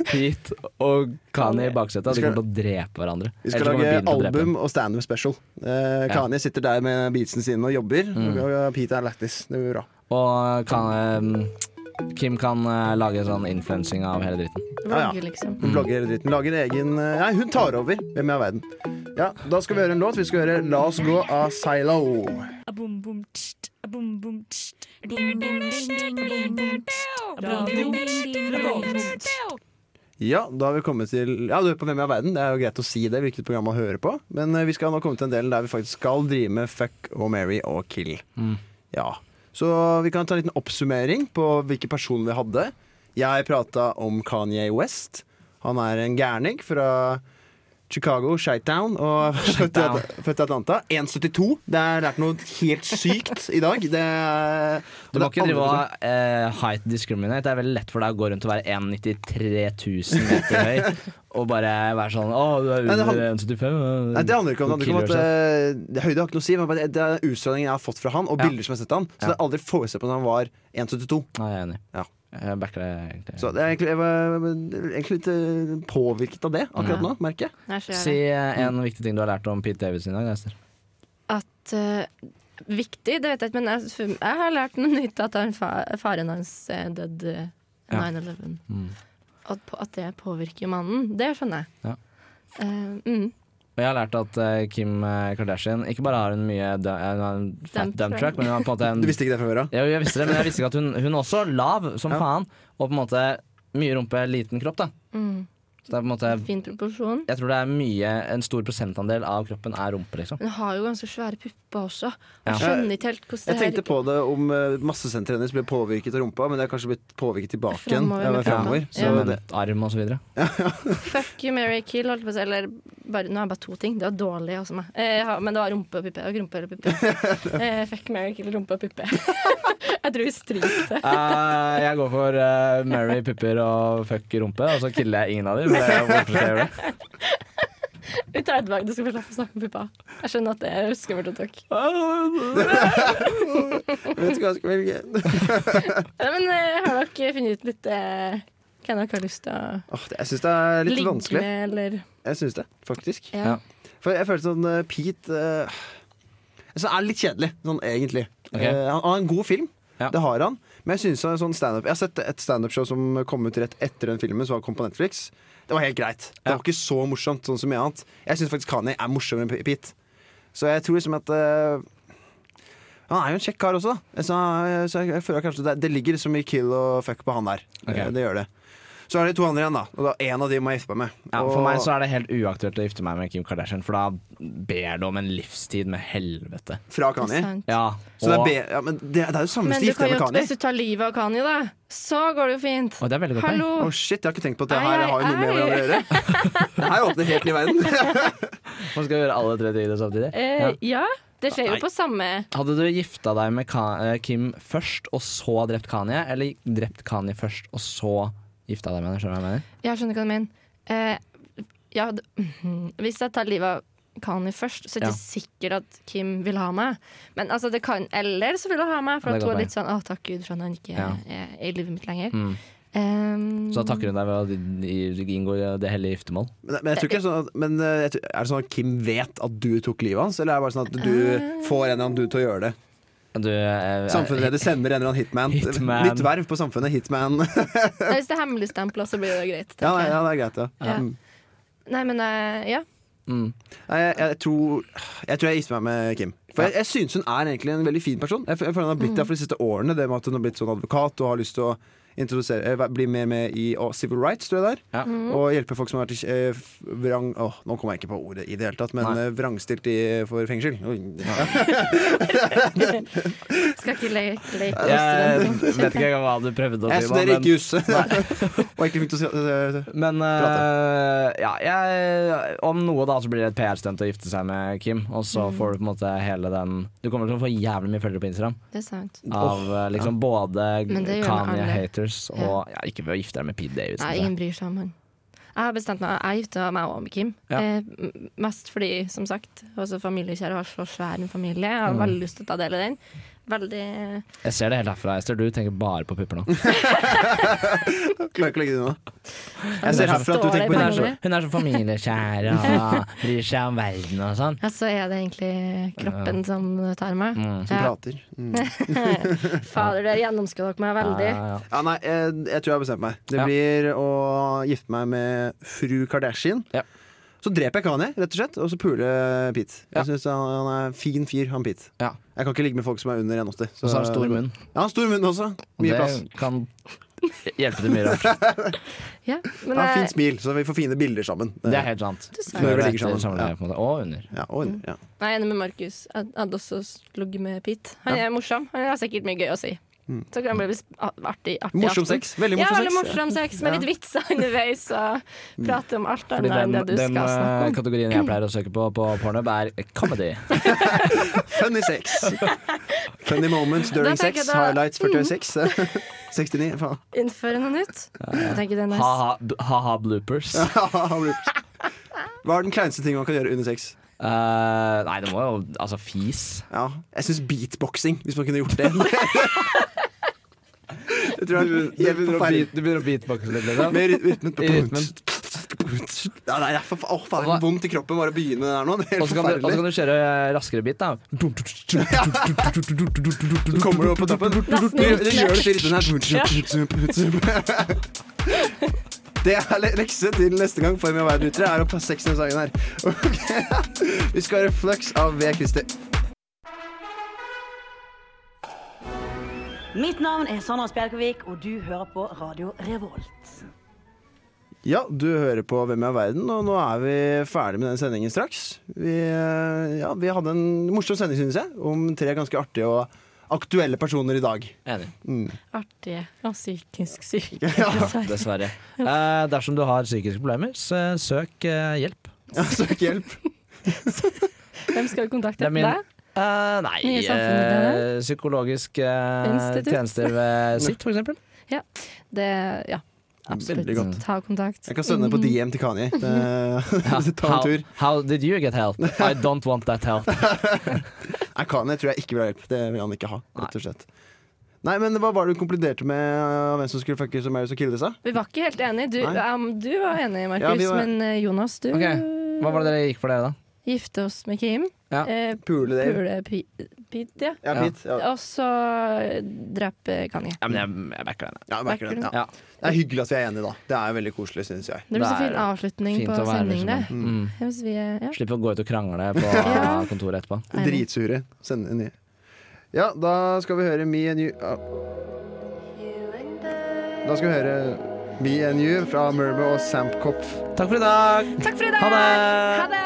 Speaker 2: Pete og Kanye i baksetet. De
Speaker 3: Vi skal-
Speaker 2: kommer til å drepe hverandre.
Speaker 3: Vi skal
Speaker 2: Ellers kommer
Speaker 3: lage
Speaker 2: bilen til å drepe dem.
Speaker 3: album og standup special. Eh, Kanye sitter der med beatsene sine og jobber.
Speaker 2: Mm.
Speaker 3: Og Pete er lættis. Det blir bra.
Speaker 2: Og kan, eh, Kim kan eh, lage sånn influensing av hele dritten.
Speaker 3: Ja,
Speaker 4: Vlogge,
Speaker 3: ja.
Speaker 4: liksom.
Speaker 3: Hun blogger hele dritten. Lager egen eh, Nei, hun tar over Hvem er verden. Ja, Da skal vi høre en låt. Vi skal høre La oss gå av Silo. Ja, da har vi kommet til Ja, du hører på Hvem er verden. Det er jo greit å si det, hvilket program man hører på. Men eh, vi skal nå komme til en del der vi faktisk skal drive med fuck og marry og kill.
Speaker 2: Mm.
Speaker 3: Ja. Så vi kan ta en liten oppsummering på hvilke personer vi hadde. Jeg prata om Kanye West. Han er en gærning fra Chicago, Shitetown, og født i At- født i Atlanta. 1,72. Det er lært noe helt sykt i dag. Det er,
Speaker 2: Du
Speaker 3: og
Speaker 2: må
Speaker 3: det
Speaker 2: ikke
Speaker 3: er
Speaker 2: drive
Speaker 3: andre-
Speaker 2: og eh, height discriminate. Det er veldig lett for deg å gå rundt og være 1,93 000 meter høy og bare være sånn Å, du er
Speaker 3: Nei, det
Speaker 2: under
Speaker 3: handler-
Speaker 2: 1,75. eh,
Speaker 3: Nei, det handler ikke om, det handler ikke om
Speaker 2: kill
Speaker 3: at eh, høyde har ikke noe å si, men bare det er utstrålingen jeg har fått fra han, og
Speaker 2: Ja.
Speaker 3: bilder som jeg har sett han. Så
Speaker 2: Ja.
Speaker 3: det er aldri forestilt på at han var 1,72.
Speaker 2: yourself. Nei, jeg er enig.
Speaker 3: eh, Ja.
Speaker 2: Jeg backer det egentlig.
Speaker 3: Så det er egentlig, jeg var egentlig litt eh, påvirket av det akkurat nå, merker jeg.
Speaker 4: Nei, så gjør
Speaker 2: Si
Speaker 4: jeg det.
Speaker 2: eh, en viktig ting du har lært om Pete Davidson i dag, Ester.
Speaker 4: At eh, Viktig, det vet jeg ikke, men jeg, jeg har lært noe nytt at han, fa- faren hans eh, døde eh,
Speaker 2: Ja. Mm.
Speaker 4: 9-11. At, på- at det påvirker mannen. Det skjønner jeg.
Speaker 2: Ja.
Speaker 4: Eh, mm,
Speaker 2: Og jeg har lært at eh, Kim eh, Kardashian ikke bare har hun mye du- eh, hun har en fat
Speaker 4: Dump
Speaker 2: dump
Speaker 4: truck.
Speaker 2: truck, men hun har på en måte en
Speaker 3: Du visste ikke det fra før av?
Speaker 2: Ja, jeg visste det, men jeg visste ikke at hun, hun er også lav som
Speaker 3: Ja.
Speaker 2: faen. Og på en måte mye rumpe, liten kropp, da.
Speaker 4: mm,
Speaker 2: Så det er på en måte
Speaker 4: fin proporsjon.
Speaker 2: Jeg tror det er mye En stor prosentandel av kroppen er rumpe, liksom.
Speaker 4: Men hun har jo ganske svære pupper også.
Speaker 2: Ja.
Speaker 4: Jeg skjønner ikke helt hvordan det
Speaker 3: Jeg tenkte
Speaker 4: her
Speaker 3: på det om eh, massesenteret hennes ble påvirket av rumpa, men det er kanskje blitt påvirket tilbake igjen.
Speaker 4: Fremover
Speaker 3: Ja,
Speaker 4: med
Speaker 3: fremover.
Speaker 4: puppa.
Speaker 3: Så
Speaker 2: Som
Speaker 3: det,
Speaker 2: arm og så videre.
Speaker 4: Fuck you, Mary Kill, holdt jeg på å si. Eller bare, nå har jeg bare to ting. Det var dårlig hos meg. Eh, jeg har- men det var rumpe og puppe. Og rumpe eller puppe. eh, fuck, marry, kill, rumpe og puppe. jeg tror vi stryker det.
Speaker 2: Eh, jeg går for eh, Mary pupper og fuck rumpe, og så killer jeg ingen av dem. For det er jo hvorfor skal jeg gjøre det?
Speaker 4: Vi tar det tilbake. Du skal få slippe å snakke om puppa. Jeg skjønner at det er skummelt å tok.
Speaker 3: Vet du hva jeg skal velge?
Speaker 4: Ja, men eh, har dere funnet ut litt eh, hva dere har lyst til å
Speaker 3: Åh, det- jeg syns det er litt
Speaker 4: ligge
Speaker 3: vanskelig.
Speaker 4: med, eller
Speaker 3: Jeg syns det, faktisk.
Speaker 4: ja.
Speaker 2: Ja.
Speaker 3: For jeg følte sånn eh, Pete eh, Jeg synes han er litt kjedelig, sånn egentlig.
Speaker 2: Ok.
Speaker 3: Eh, han har en god film,
Speaker 2: Ja.
Speaker 3: det har han. Men jeg synes han er sånn stand-up Jeg har sett et standup-show som kom ut rett etter den filmen, som kom på Netflix. Det var helt greit. Det
Speaker 2: Ja.
Speaker 3: var ikke så morsomt, sånn som mye annet. Jeg syns faktisk Kanye er morsommere enn P- Pete. Så jeg tror liksom at eh, Han er jo en kjekk kar også, da. Så, jeg- så jeg, jeg føler kanskje det, det ligger liksom i kill og fuck på han der.
Speaker 2: Ok.
Speaker 3: Eh, Det gjør det. Så er det to andre igjen, da. Og da én av de må jeg gifte meg med.
Speaker 2: Ja,
Speaker 3: og,
Speaker 2: for meg så er det helt uaktuelt å gifte meg med Kim Kardashian, for da ber det om en livstid med helvete.
Speaker 3: Fra Kanye.
Speaker 4: sant.
Speaker 2: Ja,
Speaker 3: Så det er,
Speaker 2: og-
Speaker 3: be ja, men det, det er jo samme
Speaker 4: Men du
Speaker 3: stift
Speaker 4: kan
Speaker 3: med
Speaker 4: jo,
Speaker 3: Kanye.
Speaker 4: hvis du tar livet av Kanye, da, så går det jo fint.
Speaker 2: Å, det er veldig godt poeng.
Speaker 3: Å
Speaker 4: Hallo!
Speaker 3: shit, jeg har ikke tenkt på at det
Speaker 4: Ei,
Speaker 3: her
Speaker 4: ei,
Speaker 3: har jo noe med
Speaker 4: ei.
Speaker 3: hverandre å gjøre. Det her åpner helt ny verden.
Speaker 2: Man skal gjøre alle tre tingene samtidig.
Speaker 4: Eh,
Speaker 2: Ja.
Speaker 4: ja. det skjer jo på samme
Speaker 2: Hadde du gifta deg med Ka eh, Kim først, og så drept Kanye? Eller drept Kanye først, og så gifta deg med henne? Skjønner du hva jeg mener?
Speaker 4: Jeg skjønner hva du mener. Eh, ja, d- mhm. hvis jeg tar livet av Kanye først, så er det
Speaker 2: Ja.
Speaker 4: sikkert at Kim vil ha meg. Men altså, det kan, Eller så vil hun ha meg, for
Speaker 2: Ja, det
Speaker 4: at hun
Speaker 2: er
Speaker 4: er
Speaker 2: godt
Speaker 4: litt sånn 'Å, takk Gud for at han ikke
Speaker 2: Ja.
Speaker 4: er, er i livet mitt lenger'.
Speaker 2: Mm.
Speaker 4: Ehm,
Speaker 2: Så da takker hun deg ved å i- inngå i det hellige giftermål?
Speaker 3: Men, men, jeg tror ikke sånn at, men eh, jeg tror, er det sånn at Kim vet at du tok livet hans, eller er det bare sånn at du
Speaker 4: Ah.
Speaker 3: får en eller annen du til å gjøre det?
Speaker 2: Du, eh,
Speaker 3: Samfunnet deres sender en eller annen hitman.
Speaker 2: Hitman.
Speaker 3: Nytt verv på samfunnet, hitman.
Speaker 4: Nei, Hvis det er hemmeligstempla, så blir det greit.
Speaker 3: Ja,
Speaker 4: tenker
Speaker 3: nei,
Speaker 4: jeg.
Speaker 3: ja det er greit, ja.
Speaker 4: Ja.
Speaker 3: Mm.
Speaker 4: Nei, men eh, ja.
Speaker 2: Mm.
Speaker 3: Nei, jeg, jeg, tror, jeg tror jeg gifter meg med Kim. For jeg, jeg synes hun er egentlig en veldig fin person. Jeg, f- jeg føler hun
Speaker 4: Mm.
Speaker 3: har blitt det for de siste årene. Det med at hun har blitt sånn advokat og har lyst til å introdusere eh, væ- bli mer med i å, civil rights, tror jeg det er.
Speaker 2: Ja.
Speaker 4: Mm.
Speaker 3: Og hjelpe folk som har vært i, eh, f- vrang... Åh, nå kommer jeg ikke på ordet i det hele tatt, men
Speaker 2: Nei.
Speaker 3: eh, vrangstilt i, for fengsel. Oi, ja.
Speaker 4: Skal ikke le leke
Speaker 2: Jeg
Speaker 4: student.
Speaker 2: vet ikke engang hva du prøvde å
Speaker 3: Jeg
Speaker 2: si. nå,
Speaker 3: studerer
Speaker 2: men-
Speaker 3: ikke juss. og ikke flink til å si
Speaker 2: Men eh, ja, jeg, om noe da så blir det et PR-stunt å gifte seg med Kim, og så
Speaker 4: Mm.
Speaker 2: får du på en måte hele den Du kommer til å få jævlig mye følgere på Instagram
Speaker 4: Det er sant.
Speaker 2: av eh, liksom både
Speaker 4: Men det gjør alle.
Speaker 2: Kanye-haters og ja, Ikke ved å gifte deg med Pete Davidson.
Speaker 4: Nei, ingen bryr seg om han. Jeg har bestemt meg, jeg gifta meg òg med Kim.
Speaker 2: Ja.
Speaker 4: Eh, m- mest fordi, som sagt, også familiekjære har så svær en familie. Jeg har veldig lyst til å ta del i den. Veldig eh,
Speaker 2: Jeg ser det helt herfra, Ester. Du tenker bare på pupper nå.
Speaker 3: Klarer ikke å legge det unna. Jeg ser herfra at du tenker på
Speaker 4: Står det
Speaker 2: Hun er så,
Speaker 4: Veldig.
Speaker 2: hun er så familiekjær og bryr seg om verden og sånn.
Speaker 4: Ja, så er det egentlig kroppen som tar meg.
Speaker 3: Som
Speaker 4: Ja.
Speaker 3: prater. Mm.
Speaker 4: Fader, det gjennomskuer dere meg veldig.
Speaker 2: Ja, ja, ja.
Speaker 3: Ja, nei, jeg, jeg tror jeg har bestemt meg. Det
Speaker 2: Ja.
Speaker 3: blir å gifte meg med fru Kardashian.
Speaker 2: Ja.
Speaker 3: Så dreper jeg Kanye, rett og slett, og så puler jeg Pete.
Speaker 2: Ja.
Speaker 3: Jeg synes han, han er en fin fyr, han Pete.
Speaker 2: Ja.
Speaker 3: Jeg kan ikke ligge med folk som er under 1,80.
Speaker 2: Og så har han stor munn.
Speaker 3: Ja, han har stor munn også.
Speaker 2: Og
Speaker 3: Mye
Speaker 2: det
Speaker 3: plass.
Speaker 2: kan hjelpe til mye rart.
Speaker 4: Ja, men
Speaker 3: Han har
Speaker 4: jeg-
Speaker 2: eh,
Speaker 3: fint smil, så vi får fine bilder sammen.
Speaker 2: Det er helt sant.
Speaker 4: sa
Speaker 3: det.
Speaker 2: Før og etter samleie,
Speaker 3: Ja.
Speaker 2: på en måte. Og under.
Speaker 3: Ja, og
Speaker 2: Mm.
Speaker 3: under, ja.
Speaker 4: Jeg er enig med Markus. Jeg hadde også ligget med Pete. Han er morsom. Han har sikkert mye gøy å si. Så kan det bli artig, artig
Speaker 3: Mm. Morsom
Speaker 4: aften.
Speaker 3: sex. Veldig
Speaker 4: ja,
Speaker 3: morsom
Speaker 4: veldig
Speaker 3: sex.
Speaker 4: morsom sex, med litt vitser underveis og prate om alt
Speaker 2: Fordi
Speaker 4: annet enn
Speaker 2: den,
Speaker 4: det du
Speaker 2: den
Speaker 4: skal
Speaker 2: eh,
Speaker 4: snakke om.
Speaker 2: kategorien jeg pleier å søke på på pornhub, er comedy.
Speaker 3: Funny sex. Funny moments
Speaker 4: Da
Speaker 3: during
Speaker 4: tenker jeg
Speaker 3: sex.
Speaker 4: da-
Speaker 3: Highlights 46. 69, faen.
Speaker 4: Innføre noe nytt. Jeg tenker det er nice.
Speaker 2: Ha-ha ha-ha bloopers.
Speaker 3: Hva er den kleinste tingen man kan gjøre under sex?
Speaker 2: Eh, nei, det må jo Altså, fis.
Speaker 3: Ja, jeg syns beatboxing, hvis man kunne gjort det. jeg tror det er helt forferdelig.
Speaker 2: begynner å beatboxe litt? Liksom.
Speaker 3: Med ry- rytmen
Speaker 2: I rytmen.
Speaker 3: Ja, nei, det er for, å, faen, det er vondt i kroppen bare å begynne der nå. Det er
Speaker 2: Og
Speaker 3: helt
Speaker 2: så kan, du- og så
Speaker 3: forferdelig.
Speaker 2: kan du kjøre raskere bit, da.
Speaker 3: Så kommer du opp på toppen.
Speaker 4: Nesten
Speaker 3: Du, du
Speaker 4: riktig.
Speaker 3: gjør det til rytmen her. Det er le- lekse til neste gang for meg og verden utere, er å passe sexen i sangen her. Ok. Vi skal ha refleks av V. Christer.
Speaker 10: Mitt navn er Sandra Spjelkavik, og du hører på Radio Revolt.
Speaker 3: Ja, du hører på Hvem er verden, og nå er vi ferdig med den sendingen straks. Vi, eh, ja, vi hadde en morsom sending, synes jeg, om tre ganske artige og aktuelle personer i dag.
Speaker 2: Enig.
Speaker 4: Artig og psykisk syk.
Speaker 2: Dessverre. Eh, dersom du har psykiske problemer, så søk eh, hjelp.
Speaker 3: Ja, Søk hjelp.
Speaker 4: Hvem skal vi kontakte?
Speaker 2: Det er min-
Speaker 4: Deg?
Speaker 2: Eh, nei
Speaker 4: Nye samfunnet,
Speaker 2: eh, Psykologisk eh,
Speaker 4: Institutt.
Speaker 2: tjenester ved sitt, for eksempel.
Speaker 4: Det, ja, absolutt.
Speaker 3: Veldig godt.
Speaker 4: Ta kontakt.
Speaker 3: Jeg kan sende det på DM til Kanye. Det, ta en
Speaker 2: How,
Speaker 3: tur.
Speaker 2: how did you get help? I don't want that help.
Speaker 3: Nei, Kanye tror jeg ikke vil ha hjelp. Det vil han ikke ha, rett og slett. Nei, men Hva var det du konkluderte med av hvem som skulle fuckes og Mary som killes? da?
Speaker 4: Vi var ikke helt enige. Du,
Speaker 3: Nei.
Speaker 4: um, du var enig, Markus,
Speaker 3: Ja, vi var-
Speaker 4: men eh, Jonas, du
Speaker 2: Ok, Hva var det dere gikk for dere, da?
Speaker 4: gifte oss med Kim.
Speaker 2: Ja.
Speaker 4: Eh,
Speaker 3: Pule Dave.
Speaker 4: Pule Pi- Pete, ja.
Speaker 3: Ja,
Speaker 2: Ja.
Speaker 3: Pete. Ja.
Speaker 4: Og så drepe Kanye.
Speaker 2: Ja, men jeg, jeg backer den. jeg.
Speaker 3: Ja, merker det. Ja.
Speaker 2: Ja.
Speaker 3: Det er hyggelig at vi er enige, da. Det er veldig koselig, syns jeg.
Speaker 4: Det blir
Speaker 2: Det
Speaker 4: så fin
Speaker 2: er
Speaker 4: avslutning
Speaker 2: Fint
Speaker 4: på
Speaker 2: å være
Speaker 4: sendingen, det.
Speaker 2: sånn. Mm.
Speaker 4: Jeg synes vi er- ja.
Speaker 2: Slipper å gå ut og krangle på
Speaker 4: Ja.
Speaker 2: kontoret etterpå.
Speaker 4: Einig.
Speaker 3: Dritsure. Send en ny. Ja, da skal vi høre Me and You ah. Da skal vi høre Me and You fra Murmur og Sampkopf.
Speaker 2: Takk for i dag!
Speaker 4: Takk for i dag!
Speaker 2: Ha det!
Speaker 4: Ha det!